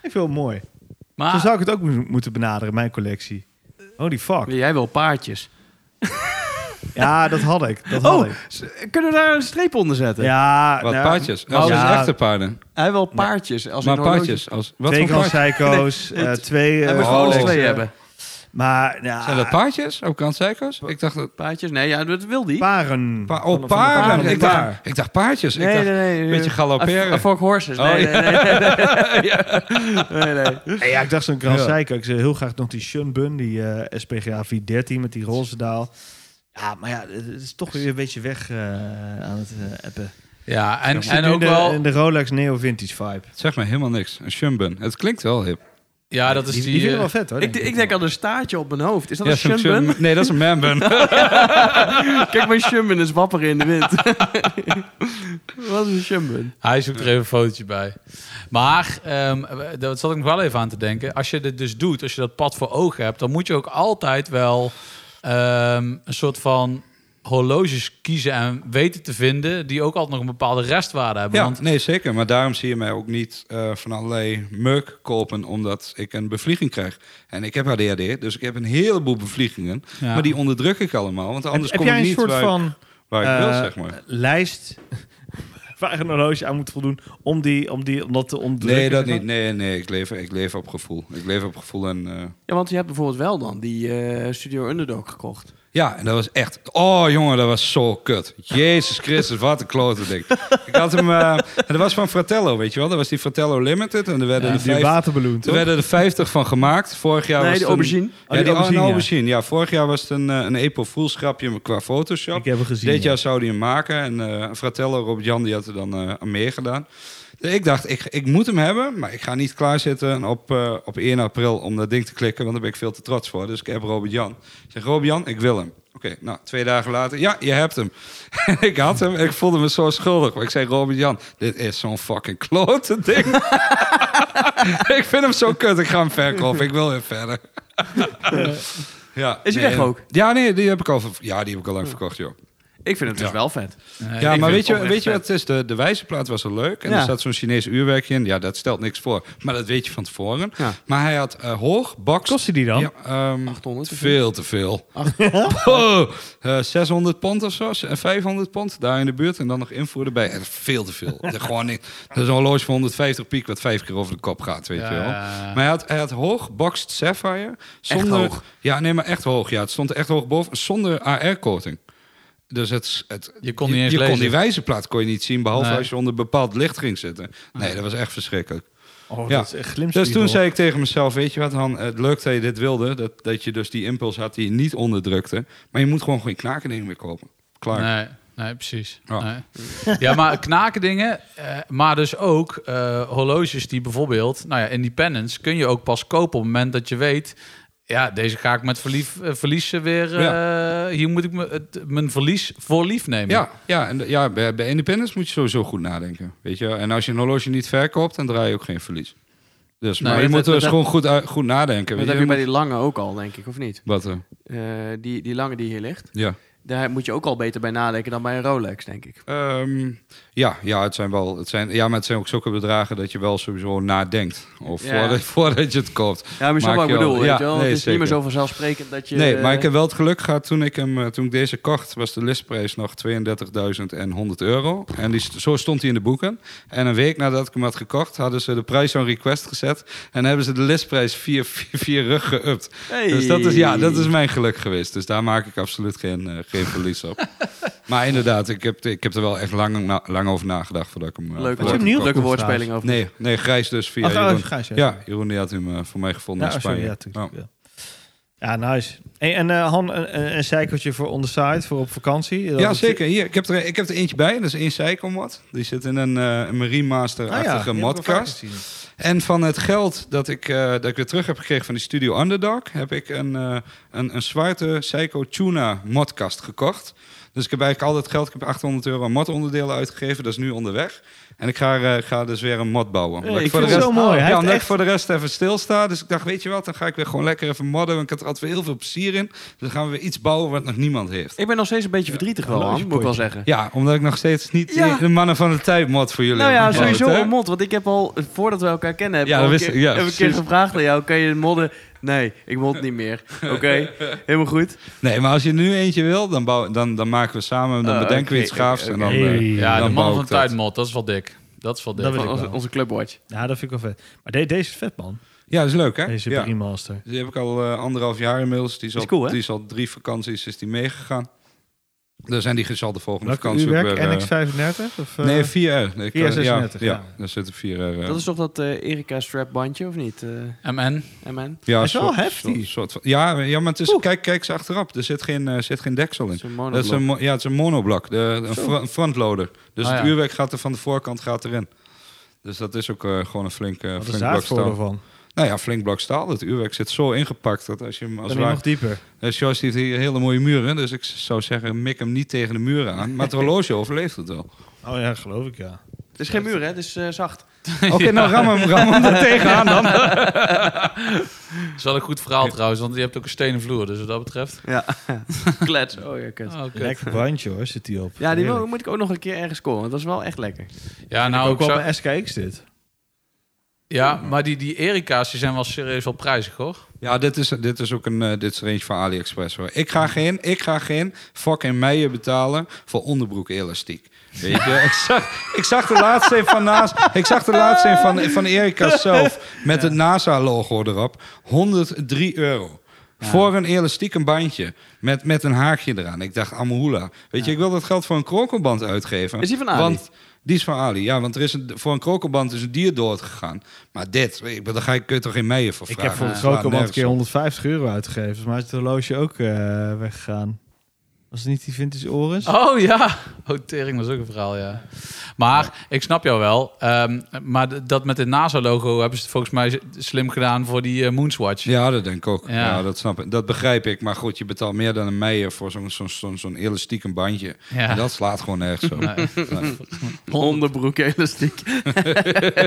[SPEAKER 5] vind het wel mooi. Zo
[SPEAKER 7] Ah.
[SPEAKER 6] Maar
[SPEAKER 5] zou ik het ook mo- moeten benaderen, mijn collectie. Holy fuck.
[SPEAKER 7] Wil jij wel paardjes?
[SPEAKER 5] Ja, dat had ik. Dat had
[SPEAKER 7] Oh,
[SPEAKER 5] ik.
[SPEAKER 7] s- kunnen we daar een streep onder zetten?
[SPEAKER 5] Ja,
[SPEAKER 2] Wat
[SPEAKER 5] nou,
[SPEAKER 2] paardjes.
[SPEAKER 5] maar-
[SPEAKER 2] Nou,
[SPEAKER 5] Ja.
[SPEAKER 2] dus echte paarden.
[SPEAKER 7] Hij wil paardjes. Als
[SPEAKER 2] Maar
[SPEAKER 7] een horloge.
[SPEAKER 2] paardjes. Als, wat
[SPEAKER 5] Twee
[SPEAKER 2] voor
[SPEAKER 5] Grand
[SPEAKER 2] paardjes?
[SPEAKER 5] Seiko's, eh, twee...
[SPEAKER 7] Hij
[SPEAKER 5] eh,
[SPEAKER 7] moet gewoon eens
[SPEAKER 5] Rolexen.
[SPEAKER 7] twee hebben.
[SPEAKER 5] Maar, ja,
[SPEAKER 2] Zijn dat paardjes? Ook aan psychos? Ik dacht dat...
[SPEAKER 7] Paardjes? Nee, ja, dat wil die.
[SPEAKER 5] paren.
[SPEAKER 2] Pa oh,
[SPEAKER 5] paarden.
[SPEAKER 2] paarden. Ik dacht,
[SPEAKER 5] Paar.
[SPEAKER 2] ik dacht paardjes. Ik dacht,
[SPEAKER 7] nee.
[SPEAKER 2] beetje galopperen.
[SPEAKER 7] A- a Fork Ah, horses. Nee,
[SPEAKER 2] Oh,
[SPEAKER 7] nee, nee. nee, nee, nee.
[SPEAKER 5] Nee, Eh, ja, ik dacht zo'n Grand
[SPEAKER 2] Ja.
[SPEAKER 5] Seiko. Ik zei heel graag nog die Shunbun, die eh, SPGA V13 met die roze daal. Ja, maar ja, het is toch weer een beetje weg eh, aan het eh, appen.
[SPEAKER 6] ja, en,
[SPEAKER 5] Ik zit
[SPEAKER 6] en
[SPEAKER 5] nu
[SPEAKER 6] ook
[SPEAKER 5] de,
[SPEAKER 6] wel.
[SPEAKER 5] in de Rolex Neo Vintage vibe.
[SPEAKER 2] Het zegt me helemaal niks. Een shumbun. Het klinkt wel hip.
[SPEAKER 6] Ja, dat is
[SPEAKER 5] Die,
[SPEAKER 6] die.
[SPEAKER 5] die vind ik
[SPEAKER 6] eh,
[SPEAKER 5] wel vet hoor.
[SPEAKER 7] Ik, ik denk aan een staartje op mijn hoofd. Is dat een
[SPEAKER 2] Ja, zo'n
[SPEAKER 7] shumbun?
[SPEAKER 2] shum- Nee, dat is een manbun.
[SPEAKER 7] Kijk, mijn shumbun is wapper in de wind. Wat is een shumbun?
[SPEAKER 6] Hij zoekt er even een fotootje bij. Maar, ehm dat zat ik nog wel even aan te denken. Als je dit dus doet, als je dat pad voor ogen hebt... dan moet je ook altijd wel ehm, een soort van horloges kiezen en weten te vinden... die ook altijd nog een bepaalde restwaarde hebben.
[SPEAKER 2] ja,
[SPEAKER 6] Want
[SPEAKER 2] nee, zeker. Maar daarom zie je mij ook niet eh, van allerlei merk kopen... omdat ik een bevlieging krijg. En ik heb ADHD, dus ik heb een heleboel bevliegingen.
[SPEAKER 6] Ja.
[SPEAKER 2] Maar die onderdruk ik allemaal, want anders
[SPEAKER 5] heb
[SPEAKER 2] kom
[SPEAKER 5] jij
[SPEAKER 2] ik
[SPEAKER 5] een
[SPEAKER 2] niet
[SPEAKER 5] soort
[SPEAKER 2] waar,
[SPEAKER 5] van
[SPEAKER 2] ik, waar Oh, ik wil,
[SPEAKER 5] eh,
[SPEAKER 2] zeg maar.
[SPEAKER 5] lijst waar een horloge aan moet voldoen om, die, om, die, om dat te ontdekken?
[SPEAKER 2] Nee, dat niet. Nee, nee, ik leef, ik leef op gevoel. Ik leef op gevoel en... eh,
[SPEAKER 7] Ja, want je hebt bijvoorbeeld wel dan die eh, Studio Underdog gekocht.
[SPEAKER 2] Ja, en dat was echt... Oh, jongen, dat was zo kut. Jezus Christus, wat een klote ding. ik had hem... eh, en dat was van Fratello, weet je wel? Dat was die Fratello Limited. En er werden de
[SPEAKER 5] Die
[SPEAKER 2] vijf-
[SPEAKER 5] waterballoon,
[SPEAKER 2] Er
[SPEAKER 5] toch?
[SPEAKER 2] werden er 50 van gemaakt. Vorig jaar
[SPEAKER 7] nee,
[SPEAKER 2] was
[SPEAKER 7] die
[SPEAKER 2] het een-
[SPEAKER 7] aubergine.
[SPEAKER 2] Ja, die, aubergine, aubergine, ja. Vorig jaar was het een, eh, een April Fool's grapje qua Photoshop.
[SPEAKER 5] Ik heb hem gezien.
[SPEAKER 2] Dit
[SPEAKER 5] ja.
[SPEAKER 2] jaar zou die hem maken. En eh Fratello, Robert-Jan, die had er dan eh, aan meer gedaan. Dus ik dacht, ik, ik moet hem hebben, maar ik ga niet klaarzitten op, eh, op 1 april om dat ding te klikken, want daar ben ik veel te trots voor. Dus ik heb Robert-Jan. Ik zeg, Robert-Jan, ik wil hem. Oké, nou, twee dagen later, ja, je hebt hem. En ik had hem en ik voelde me zo schuldig. Maar ik zei, Robert-Jan, dit is zo'n fucking klote ding. ik vind hem zo kut, ik ga hem verkopen. Ik wil weer verder. ja,
[SPEAKER 7] Is hij
[SPEAKER 2] nee,
[SPEAKER 7] weg ook?
[SPEAKER 2] Ja, nee, die heb ik al, ver- ja, die heb ik al lang verkocht, joh.
[SPEAKER 7] Ik vind het dus
[SPEAKER 2] Ja.
[SPEAKER 7] wel vet.
[SPEAKER 2] Ja, maar weet je,
[SPEAKER 7] oprecht
[SPEAKER 2] weet je
[SPEAKER 7] vet.
[SPEAKER 2] wat het is? De, de wijzerplaat was al leuk. En
[SPEAKER 7] Ja.
[SPEAKER 2] er zat zo'n Chinees uurwerkje in. Ja, dat stelt niks voor. Maar dat weet je van tevoren.
[SPEAKER 7] Ja.
[SPEAKER 2] Maar hij had eh, hoog, box...
[SPEAKER 5] Kostte die dan?
[SPEAKER 2] Ja, ehm,
[SPEAKER 7] 800?
[SPEAKER 2] Veel te veel. Oh, eh, 600 pond of zo. eh, 500 pond, daar in de buurt. En dan nog invoer erbij. Eh, veel te veel. Dat, is gewoon niet, dat is een horloge van 150 piek wat vijf keer over de kop gaat, weet
[SPEAKER 6] Ja,
[SPEAKER 2] je wel.
[SPEAKER 6] ja, ja.
[SPEAKER 2] Maar hij had, hij had hoog boxed Sapphire. Zonder,
[SPEAKER 7] hoog?
[SPEAKER 2] Ja, nee, maar echt hoog. Ja, het stond echt hoog boven. Zonder AR-coating. Dus het, het,
[SPEAKER 6] Je kon niet eens
[SPEAKER 2] je, kon
[SPEAKER 6] lezen.
[SPEAKER 2] die wijzerplaat kon je niet zien, behalve
[SPEAKER 6] Nee.
[SPEAKER 2] als je onder bepaald licht ging zitten. Nee, dat was echt verschrikkelijk.
[SPEAKER 5] Oh,
[SPEAKER 2] Ja.
[SPEAKER 5] dat is echt glimspiegel.
[SPEAKER 2] Dus toen zei ik tegen mezelf, weet je wat Han, het leuk dat je dit wilde. Dat, dat je dus die impuls had die je niet onderdrukte. Maar je moet gewoon geen knaken dingen meer kopen. Klaar.
[SPEAKER 6] Nee, nee precies.
[SPEAKER 2] Ja.
[SPEAKER 6] Nee. Ja, maar knaken dingen. eh, maar dus ook eh, horloges die bijvoorbeeld... Nou ja, independence kun je ook pas kopen op het moment dat je weet... Ja, deze ga ik met verlief, eh, verlies eh, weer... eh, Hier moet ik me, het- mijn verlies voor lief nemen.
[SPEAKER 2] Ja, ja, en, de- ja bij, bij Independence moet je sowieso goed nadenken. Weet je? wel. En als je een horloge niet verkoopt, dan draai je ook geen verlies. Dus,
[SPEAKER 6] Nee,
[SPEAKER 2] maar je
[SPEAKER 7] dat-
[SPEAKER 2] moet
[SPEAKER 7] dat-
[SPEAKER 2] dus
[SPEAKER 7] dat-
[SPEAKER 2] gewoon goed, uit- goed nadenken.
[SPEAKER 7] Dat
[SPEAKER 2] Weet
[SPEAKER 7] heb
[SPEAKER 2] je?
[SPEAKER 7] je bij die lange ook al, denk ik, of niet?
[SPEAKER 2] Wat, eh,
[SPEAKER 7] Eh, die, die lange die hier ligt.
[SPEAKER 2] ja.
[SPEAKER 7] Daar moet je ook al beter bij nadenken dan bij een Rolex, denk ik.
[SPEAKER 2] Ehm, ja, ja, het zijn wel, het zijn, ja, maar het zijn ook zulke bedragen dat je wel sowieso nadenkt. Of
[SPEAKER 7] Ja.
[SPEAKER 2] voordat, voordat je het koopt.
[SPEAKER 7] Ja, maar zo
[SPEAKER 2] Maak
[SPEAKER 7] wat ik
[SPEAKER 2] je wel-
[SPEAKER 7] bedoel,
[SPEAKER 2] ja,
[SPEAKER 7] weet je wel?
[SPEAKER 2] nee,
[SPEAKER 7] het is niet meer
[SPEAKER 2] zeker.
[SPEAKER 7] zo vanzelfsprekend dat je...
[SPEAKER 2] Nee, maar ik heb wel het geluk gehad toen ik, hem, eh, toen ik deze kocht, was de listprijs nog 32.100 euro. En die, st- zo stond hij in de boeken. En een week nadat ik hem had gekocht, hadden ze de prijs aan request gezet. En hebben ze de listprijs vier, vier, vier rug geüpt.
[SPEAKER 7] Hey.
[SPEAKER 2] Dus dat is, ja, dat is mijn geluk geweest. Dus daar maak ik absoluut geen, eh, geen verlies op. maar inderdaad, ik heb, ik heb er wel echt lang, na- lang over nagedacht voordat ik hem... eh,
[SPEAKER 7] Leuk
[SPEAKER 2] voordat ik
[SPEAKER 5] je
[SPEAKER 2] hem
[SPEAKER 5] hem
[SPEAKER 7] woord,
[SPEAKER 5] nu opgekocht trouwens?
[SPEAKER 7] leuke woordspeling over.
[SPEAKER 2] Nee, nee, Grijs dus via
[SPEAKER 5] Ach, oh,
[SPEAKER 2] Jeroen.
[SPEAKER 5] Grijs, ja.
[SPEAKER 2] ja, Jeroen die had hem eh, voor mij gevonden
[SPEAKER 5] Ja,
[SPEAKER 2] in
[SPEAKER 5] oh,
[SPEAKER 2] Spanje.
[SPEAKER 5] sorry, ja, tuurlijk.
[SPEAKER 2] Oh.
[SPEAKER 5] Ja. Ja, nice. En, en eh, Han, een, een- een cykeltje voor on the side, voor op vakantie. Dat
[SPEAKER 2] Ja,
[SPEAKER 5] het-
[SPEAKER 2] zeker. Hier, ik, heb er, ik heb er eentje bij. Dat is één Seicomod. Die zit in een eh, een Marine
[SPEAKER 5] Ah ja,
[SPEAKER 2] Master-achtige
[SPEAKER 5] die hebben we vaker
[SPEAKER 2] modcast.
[SPEAKER 5] gezien.
[SPEAKER 2] En van het geld dat ik, eh, dat ik weer terug heb gekregen van die Studio Underdog... heb ik een, eh, een, een zwarte Seiko Tuna modcast gekocht. Dus ik heb eigenlijk al dat geld... Ik heb 800 euro aan modonderdelen uitgegeven. Dat is nu onderweg. En ik ga, eh, ga dus weer een mod bouwen. Omdat
[SPEAKER 5] Hey, ik
[SPEAKER 2] voor
[SPEAKER 5] vind
[SPEAKER 2] de
[SPEAKER 5] het zo
[SPEAKER 2] rest-
[SPEAKER 5] mooi. Hij
[SPEAKER 2] ja,
[SPEAKER 5] heeft
[SPEAKER 2] omdat
[SPEAKER 5] echt
[SPEAKER 2] ik voor de rest even stilsta. Dus ik dacht, weet je wat, dan ga ik weer gewoon lekker even modden. Want ik had er altijd weer heel veel plezier in. Dus dan gaan we weer iets bouwen wat nog niemand heeft.
[SPEAKER 7] Ik ben nog steeds een beetje verdrietig wel, Han, moet ik wel zeggen.
[SPEAKER 2] Ja, omdat ik nog steeds niet
[SPEAKER 7] Ja.
[SPEAKER 2] de mannen van de tijd mod voor jullie
[SPEAKER 7] Nou ja,
[SPEAKER 2] heb gebouwd,
[SPEAKER 7] sowieso
[SPEAKER 2] hè?
[SPEAKER 7] een mod. Want ik heb al, voordat we elkaar kennen, heb,
[SPEAKER 2] Ja,
[SPEAKER 7] ik
[SPEAKER 2] dat
[SPEAKER 7] al een
[SPEAKER 2] wist
[SPEAKER 7] keer,
[SPEAKER 2] ik, ja,
[SPEAKER 7] heb ik een keer
[SPEAKER 2] precies.
[SPEAKER 7] gevraagd aan jou, kan je modden? Nee, ik mod niet meer. Oké, helemaal goed.
[SPEAKER 2] Nee, maar als je nu eeentje wil, dan, bouw, dan, dan maken we samen, dan
[SPEAKER 7] Oh,
[SPEAKER 2] bedenken we
[SPEAKER 7] oké,
[SPEAKER 2] iets gaafs.
[SPEAKER 7] oké,
[SPEAKER 2] En dan,
[SPEAKER 5] oké.
[SPEAKER 2] eh,
[SPEAKER 5] Hey.
[SPEAKER 6] Ja,
[SPEAKER 2] dan
[SPEAKER 6] de
[SPEAKER 2] bouw
[SPEAKER 6] man van
[SPEAKER 2] ik
[SPEAKER 6] de
[SPEAKER 2] dat.
[SPEAKER 6] tijdmod, dat is wel dik. Dat is wel dik.
[SPEAKER 5] Dat wil
[SPEAKER 7] Van
[SPEAKER 5] ik
[SPEAKER 7] onze,
[SPEAKER 5] wel.
[SPEAKER 7] onze clubwatch.
[SPEAKER 5] Ja, dat vind ik wel vet. Maar de- deze is vet, man.
[SPEAKER 2] Ja, dat is leuk, hè?
[SPEAKER 5] Deze
[SPEAKER 2] ja.
[SPEAKER 5] remaster.
[SPEAKER 2] Die heb ik al eh, anderhalf jaar inmiddels. Die is,
[SPEAKER 7] Is
[SPEAKER 2] al,
[SPEAKER 7] cool, hè?
[SPEAKER 2] die is al drie vakanties is die meegegaan. Dan zijn die zal de volgende
[SPEAKER 5] Welke
[SPEAKER 2] vakantie ook
[SPEAKER 5] uurwerk?
[SPEAKER 2] weer, eh,
[SPEAKER 5] NX35? Of, eh,
[SPEAKER 2] Nee, 4R. Ik, eh,
[SPEAKER 5] 4R36,
[SPEAKER 2] ja,
[SPEAKER 5] ja.
[SPEAKER 2] ja, daar zitten 4R. eh,
[SPEAKER 7] Dat is toch dat eh, Erika strap bandje, of niet? eh
[SPEAKER 6] MN.
[SPEAKER 7] MN?
[SPEAKER 2] ja,
[SPEAKER 5] Hij is wel
[SPEAKER 2] soort-
[SPEAKER 5] heftig.
[SPEAKER 2] soort- soort van- ja, ja, maar het is, kijk, kijk eens achterop. Er zit geen, eh, zit geen deksel in.
[SPEAKER 7] Zo'n
[SPEAKER 2] Dat is
[SPEAKER 7] monoblok.
[SPEAKER 2] een, mo- ja, het is een monoblok, de, een fro- een frontloader. Dus
[SPEAKER 6] Ah,
[SPEAKER 2] het
[SPEAKER 6] ja.
[SPEAKER 2] uurwerk gaat er van de voorkant gaat erin. Dus dat is ook eh, gewoon een flink, eh,
[SPEAKER 5] Wat is
[SPEAKER 2] flink
[SPEAKER 5] daar
[SPEAKER 2] blok
[SPEAKER 5] het voordeel
[SPEAKER 2] staal.
[SPEAKER 5] van?
[SPEAKER 2] Nou ja, flink blok staal. Het uurwerk zit zo ingepakt dat als je hem als
[SPEAKER 5] Dan
[SPEAKER 2] waar...
[SPEAKER 5] nog dieper.
[SPEAKER 2] Eh, Sjoerd heeft hier hele mooie muren, dus ik zou zeggen mik hem niet tegen de muren aan. Maar het horloge overleeft het wel.
[SPEAKER 5] Oh ja, geloof ik, ja.
[SPEAKER 7] Het is geen muur, hè? Het is eh, zacht.
[SPEAKER 2] Oké, nou ram hem, ram hem er tegenaan dan.
[SPEAKER 6] Dat is wel een goed verhaal trouwens, want je hebt ook een stenen vloer. Dus wat dat betreft...
[SPEAKER 7] Ja. Klets. Oh ja, kut.
[SPEAKER 6] Ah, oké.
[SPEAKER 5] Lekker brandje, hoor, zit die op.
[SPEAKER 7] Ja, die wil-
[SPEAKER 5] Heerlijk.
[SPEAKER 7] moet ik ook nog een keer ergens scoren. Want dat is wel echt lekker.
[SPEAKER 6] Ja, nou,
[SPEAKER 5] ook
[SPEAKER 6] ik
[SPEAKER 5] wel
[SPEAKER 6] zou-
[SPEAKER 5] bij SKX dit.
[SPEAKER 6] Ja, maar die, die Erika's die zijn wel serieus wel prijzig, hoor.
[SPEAKER 2] Ja, dit is, dit is ook een eh, dit is range van AliExpress hoor. Ik ga geen, ik ga geen fucking meijen betalen voor onderbroek elastiek. Weet je, ik zag, ik zag de laatste een van naast, ik zag de laatste een van, van Erika zelf met het NASA logo erop, 103 euro. Voor een elastiek een bandje met, met een haakje eraan. Ik dacht, amoehula. Weet je, ik wil dat geld voor een krokelband uitgeven.
[SPEAKER 7] Is die van Ali?
[SPEAKER 2] Want die is van Ali, ja. Want er is een, voor een krokelband is een dier doodgegaan. Maar dit, ik, bedoel, daar ga je, kun je toch geen meijen voor
[SPEAKER 5] Ik
[SPEAKER 2] vragen?
[SPEAKER 5] heb voor het
[SPEAKER 2] Dat slaat
[SPEAKER 5] Croco een
[SPEAKER 2] nergens
[SPEAKER 5] keer
[SPEAKER 2] op.
[SPEAKER 5] 150 euro uitgegeven. Volgens mij is het horloge ook eh, weggegaan. Was het niet die vintage Oris?
[SPEAKER 6] Oh ja, oh, tering was ook een verhaal, ja. Maar ik snap jou wel. ehm, maar d- dat met het NASA-logo hebben ze het volgens mij s- slim gedaan voor die eh, Moonswatch.
[SPEAKER 2] Ja, dat denk ik ook.
[SPEAKER 6] Ja.
[SPEAKER 2] Ja. dat snap ik. Dat begrijp ik. Maar goed, je betaalt meer dan een meijer voor zo'n zo'n zo'n zo'n elastiek een bandje.
[SPEAKER 6] Ja.
[SPEAKER 2] En dat slaat gewoon nergens op. Nee.
[SPEAKER 7] Onderbroek elastiek.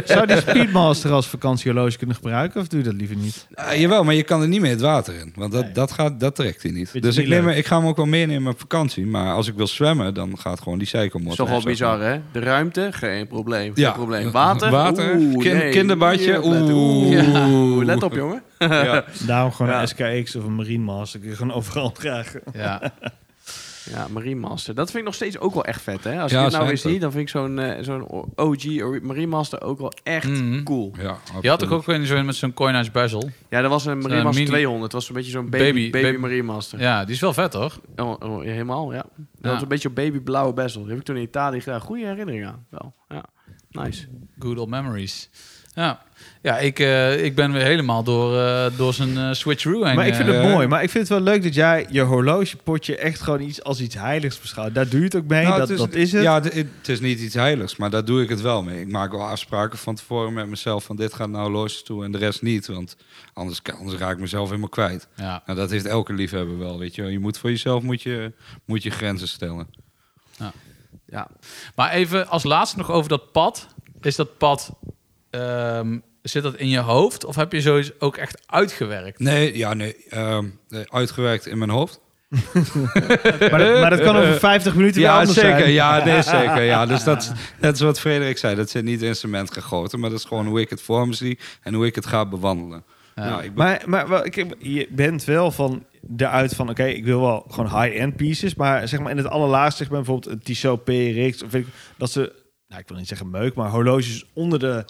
[SPEAKER 5] Zou die Speedmaster als vakantiehorloge kunnen gebruiken? Of doe je dat liever niet?
[SPEAKER 2] Eh, jawel, maar je kan er niet meer het water in. Want dat, dat, gaat, dat trekt hij niet.
[SPEAKER 5] Vind je
[SPEAKER 2] dus
[SPEAKER 5] niet
[SPEAKER 2] ik, neem,
[SPEAKER 5] leuk?
[SPEAKER 2] hem- ik ga hem ook wel meenemen op vakantie. Maar als ik wil zwemmen, dan gaat gewoon die
[SPEAKER 7] Dat
[SPEAKER 2] cyclemotor.
[SPEAKER 7] is toch wel
[SPEAKER 2] weg, zeg maar.
[SPEAKER 7] bizar, hè? De ruimte, geen probleem. Geen
[SPEAKER 2] Ja.
[SPEAKER 7] probleem. Water?
[SPEAKER 2] Water.
[SPEAKER 7] Oeh,
[SPEAKER 2] Kin-
[SPEAKER 7] nee.
[SPEAKER 2] kinderbadje,
[SPEAKER 7] Hier op letten. Oeh.
[SPEAKER 2] oeh.
[SPEAKER 7] Oeh, Let op, jongen.
[SPEAKER 2] Ja.
[SPEAKER 5] Daarom gewoon
[SPEAKER 7] Ja.
[SPEAKER 5] een SKX of een Marine Master. Kun je gewoon overal dragen.
[SPEAKER 6] Ja.
[SPEAKER 7] Ja, Marine Master. Dat vind ik nog steeds ook wel echt vet, hè? Als
[SPEAKER 2] Ja,
[SPEAKER 7] je het nou
[SPEAKER 2] zijn
[SPEAKER 7] weer
[SPEAKER 2] het.
[SPEAKER 7] ziet, dan vind ik zo'n eh, zo'n OG Marine Master ook wel echt
[SPEAKER 6] Mhm.
[SPEAKER 7] cool.
[SPEAKER 2] Ja,
[SPEAKER 6] Je had toch
[SPEAKER 2] absoluut.
[SPEAKER 6] ook weer zo'n met zo'n coin uit bezel.
[SPEAKER 7] Ja, dat was een Marine
[SPEAKER 6] Zo'n
[SPEAKER 7] Master
[SPEAKER 6] mini-
[SPEAKER 7] 200. Het was een beetje zo'n baby,
[SPEAKER 6] Baby-
[SPEAKER 7] baby,
[SPEAKER 6] baby-
[SPEAKER 7] Marine Master.
[SPEAKER 6] Ja, die is wel vet, hoor.
[SPEAKER 7] Oh, oh, ja, helemaal, ja. Dat
[SPEAKER 6] Ja.
[SPEAKER 7] was een beetje op babyblauwe bezel. Die heb ik toen in Italië gedaan. Goede herinnering aan. Wel, ja. Nice.
[SPEAKER 6] Good old memories. Ja, ja ik, eh, ik ben weer helemaal door, eh, door zijn eh, switcheroo heen.
[SPEAKER 5] Maar ik
[SPEAKER 6] eh,
[SPEAKER 5] vind het
[SPEAKER 2] Ja.
[SPEAKER 5] mooi. Maar ik vind het wel leuk dat jij je horlogepotje echt gewoon iets als iets heiligs beschouwt. Daar doe je het ook mee.
[SPEAKER 2] Nou,
[SPEAKER 5] dat, dat is het.
[SPEAKER 2] Ja, d- het het is niet iets heiligs, maar daar doe ik het wel mee. Ik maak wel afspraken van tevoren met mezelf van dit gaat nou los toe en de rest niet, want anders, kan- anders raak ik mezelf helemaal kwijt.
[SPEAKER 6] Ja,
[SPEAKER 2] Nou, dat heeft elke liefhebber wel, weet je. wel. Je moet voor jezelf moet je, moet je grenzen stellen.
[SPEAKER 7] Ja.
[SPEAKER 6] maar even als laatste nog over dat pad. Is dat pad, ehm, zit dat in je hoofd of heb je sowieso ook echt uitgewerkt?
[SPEAKER 2] Nee, ja, nee, ehm, eh, uitgewerkt in mijn hoofd.
[SPEAKER 5] Maar, dat, maar dat kan over 50 minuten weer
[SPEAKER 2] Ja,
[SPEAKER 5] anders
[SPEAKER 2] zeker.
[SPEAKER 5] zijn.
[SPEAKER 2] Ja, nee, zeker. Ja, dus dat, dat is wat Frederik zei. Dat zit niet in cement gegoten, maar dat is gewoon hoe ik het voor me zie en hoe ik het ga bewandelen.
[SPEAKER 6] Ja.
[SPEAKER 2] Nou, ik ben-
[SPEAKER 5] Maar, maar wel, ik, je bent wel van eruit van, oké, ik wil wel gewoon high-end pieces. Maar zeg maar in het allerlaatste segment, bijvoorbeeld een Tissot PRX. Of weet ik, dat ze, nou, ik wil niet zeggen meuk, maar horloges onder de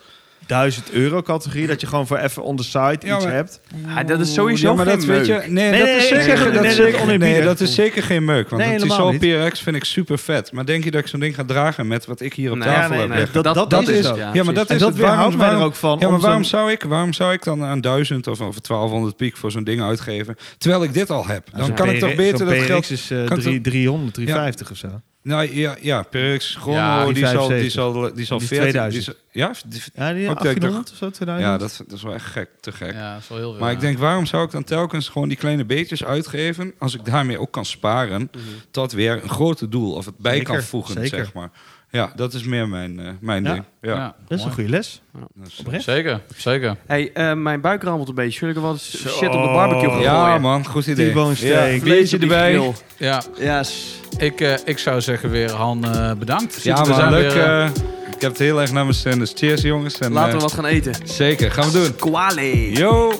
[SPEAKER 5] 1000 euro categorie. Dat je gewoon voor even on the side
[SPEAKER 2] Ja,
[SPEAKER 5] iets
[SPEAKER 2] maar-
[SPEAKER 5] hebt.
[SPEAKER 7] Ah, dat is sowieso
[SPEAKER 2] Ja, maar
[SPEAKER 7] geen
[SPEAKER 2] dat weet je.
[SPEAKER 7] meuk.
[SPEAKER 2] Nee,
[SPEAKER 5] Nee,
[SPEAKER 2] dat
[SPEAKER 5] nee,
[SPEAKER 2] is
[SPEAKER 5] nee,
[SPEAKER 2] zeker,
[SPEAKER 5] nee,
[SPEAKER 2] dat
[SPEAKER 5] nee,
[SPEAKER 2] is
[SPEAKER 5] dat
[SPEAKER 2] zeker,
[SPEAKER 5] oneerbiedig.
[SPEAKER 2] nee, dat is zeker geen meuk. Want
[SPEAKER 5] Nee,
[SPEAKER 2] een
[SPEAKER 5] helemaal
[SPEAKER 2] Tissot PRX vind ik super vet. Maar denk je dat ik zo'n ding ga dragen met wat ik hier op
[SPEAKER 7] Nee,
[SPEAKER 2] tafel
[SPEAKER 5] nee,
[SPEAKER 2] heb?
[SPEAKER 5] nee.
[SPEAKER 2] liggen?
[SPEAKER 5] Dat- dat is
[SPEAKER 2] is-
[SPEAKER 5] het.
[SPEAKER 2] Ja, maar
[SPEAKER 7] precies.
[SPEAKER 2] dat
[SPEAKER 5] en
[SPEAKER 2] is
[SPEAKER 5] dat
[SPEAKER 2] het. Waarom,
[SPEAKER 5] weerhoudt mij er
[SPEAKER 2] waarom,
[SPEAKER 5] ook van.
[SPEAKER 2] ja, maar
[SPEAKER 5] om zo'n-
[SPEAKER 2] waarom zou ik, waarom zou ik dan aan 1000 of, of 1200 piek voor zo'n ding uitgeven, terwijl ik dit al heb? Dan
[SPEAKER 5] zo'n
[SPEAKER 2] kan ik toch
[SPEAKER 5] PRX
[SPEAKER 2] beter dat
[SPEAKER 5] zo'n PRX
[SPEAKER 2] geld.
[SPEAKER 5] is eh,
[SPEAKER 2] kan
[SPEAKER 5] drie-
[SPEAKER 2] toch-
[SPEAKER 5] 300, 350 of zo.
[SPEAKER 2] Nou ja, ja PRX Chrono,
[SPEAKER 6] Ja,
[SPEAKER 2] die,
[SPEAKER 5] die
[SPEAKER 2] zal, die
[SPEAKER 5] 75.
[SPEAKER 2] zal, die zal
[SPEAKER 5] Die
[SPEAKER 2] 14.
[SPEAKER 5] 2000.
[SPEAKER 2] Die zal, ja, die-
[SPEAKER 5] Ja, die
[SPEAKER 2] Ook
[SPEAKER 5] 800 of zo, 2000.
[SPEAKER 2] ja dat, dat is wel echt gek, te gek.
[SPEAKER 6] Ja, dat is wel heel veel.
[SPEAKER 2] Maar ik
[SPEAKER 6] ja.
[SPEAKER 2] denk, waarom zou ik dan telkens gewoon die kleine beetjes uitgeven... als ik daarmee ook kan sparen tot weer een grote doel... of het bij
[SPEAKER 5] Mhm. Zeker,
[SPEAKER 2] kan voegen,
[SPEAKER 5] zeker.
[SPEAKER 2] zeg maar. Ja, dat is meer mijn, eh, mijn
[SPEAKER 5] Ja.
[SPEAKER 2] ding. Ja.
[SPEAKER 5] Dat is een goede les.
[SPEAKER 2] Dus-
[SPEAKER 5] Oprecht.
[SPEAKER 6] Zeker, zeker.
[SPEAKER 7] Hey, eh, mijn buik rammelt een beetje. Zullen we wat
[SPEAKER 5] Zo.
[SPEAKER 7] shit op de barbecue
[SPEAKER 5] Oh,
[SPEAKER 7] gaan
[SPEAKER 2] ja,
[SPEAKER 7] gooien?
[SPEAKER 2] man, goed idee.
[SPEAKER 5] T-bone steak.
[SPEAKER 2] Ja, biertje
[SPEAKER 7] op die
[SPEAKER 2] erbij.
[SPEAKER 7] grill.
[SPEAKER 6] Ja,
[SPEAKER 7] Yes.
[SPEAKER 6] ik, eh, ik zou zeggen weer Han eh, bedankt.
[SPEAKER 2] Ja,
[SPEAKER 6] Zitten we
[SPEAKER 2] man,
[SPEAKER 6] zijn
[SPEAKER 2] leuk.
[SPEAKER 6] weer, eh,
[SPEAKER 2] eh, ik heb het heel erg naar mijn zin, dus cheers, jongens. En,
[SPEAKER 7] Laten we
[SPEAKER 2] eh,
[SPEAKER 7] wat gaan eten.
[SPEAKER 2] Zeker, gaan we doen.
[SPEAKER 7] Kwale.
[SPEAKER 2] Yo!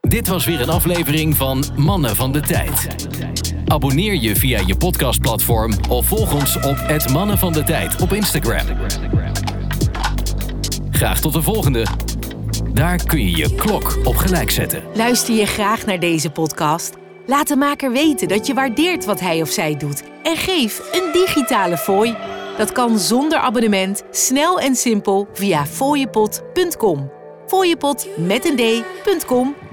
[SPEAKER 3] Dit was weer een aflevering van Mannen van de Tijd. Abonneer je via je podcastplatform of volg ons op het Mannen van de Tijd op Instagram. Graag tot de volgende. Daar kun je je klok op gelijk zetten.
[SPEAKER 1] Luister je graag naar deze podcast? Laat de maker weten dat je waardeert wat hij of zij doet en geef een digitale fooi. Dat kan zonder abonnement, snel en simpel via fooiepot.com. Fooiepot met een d.com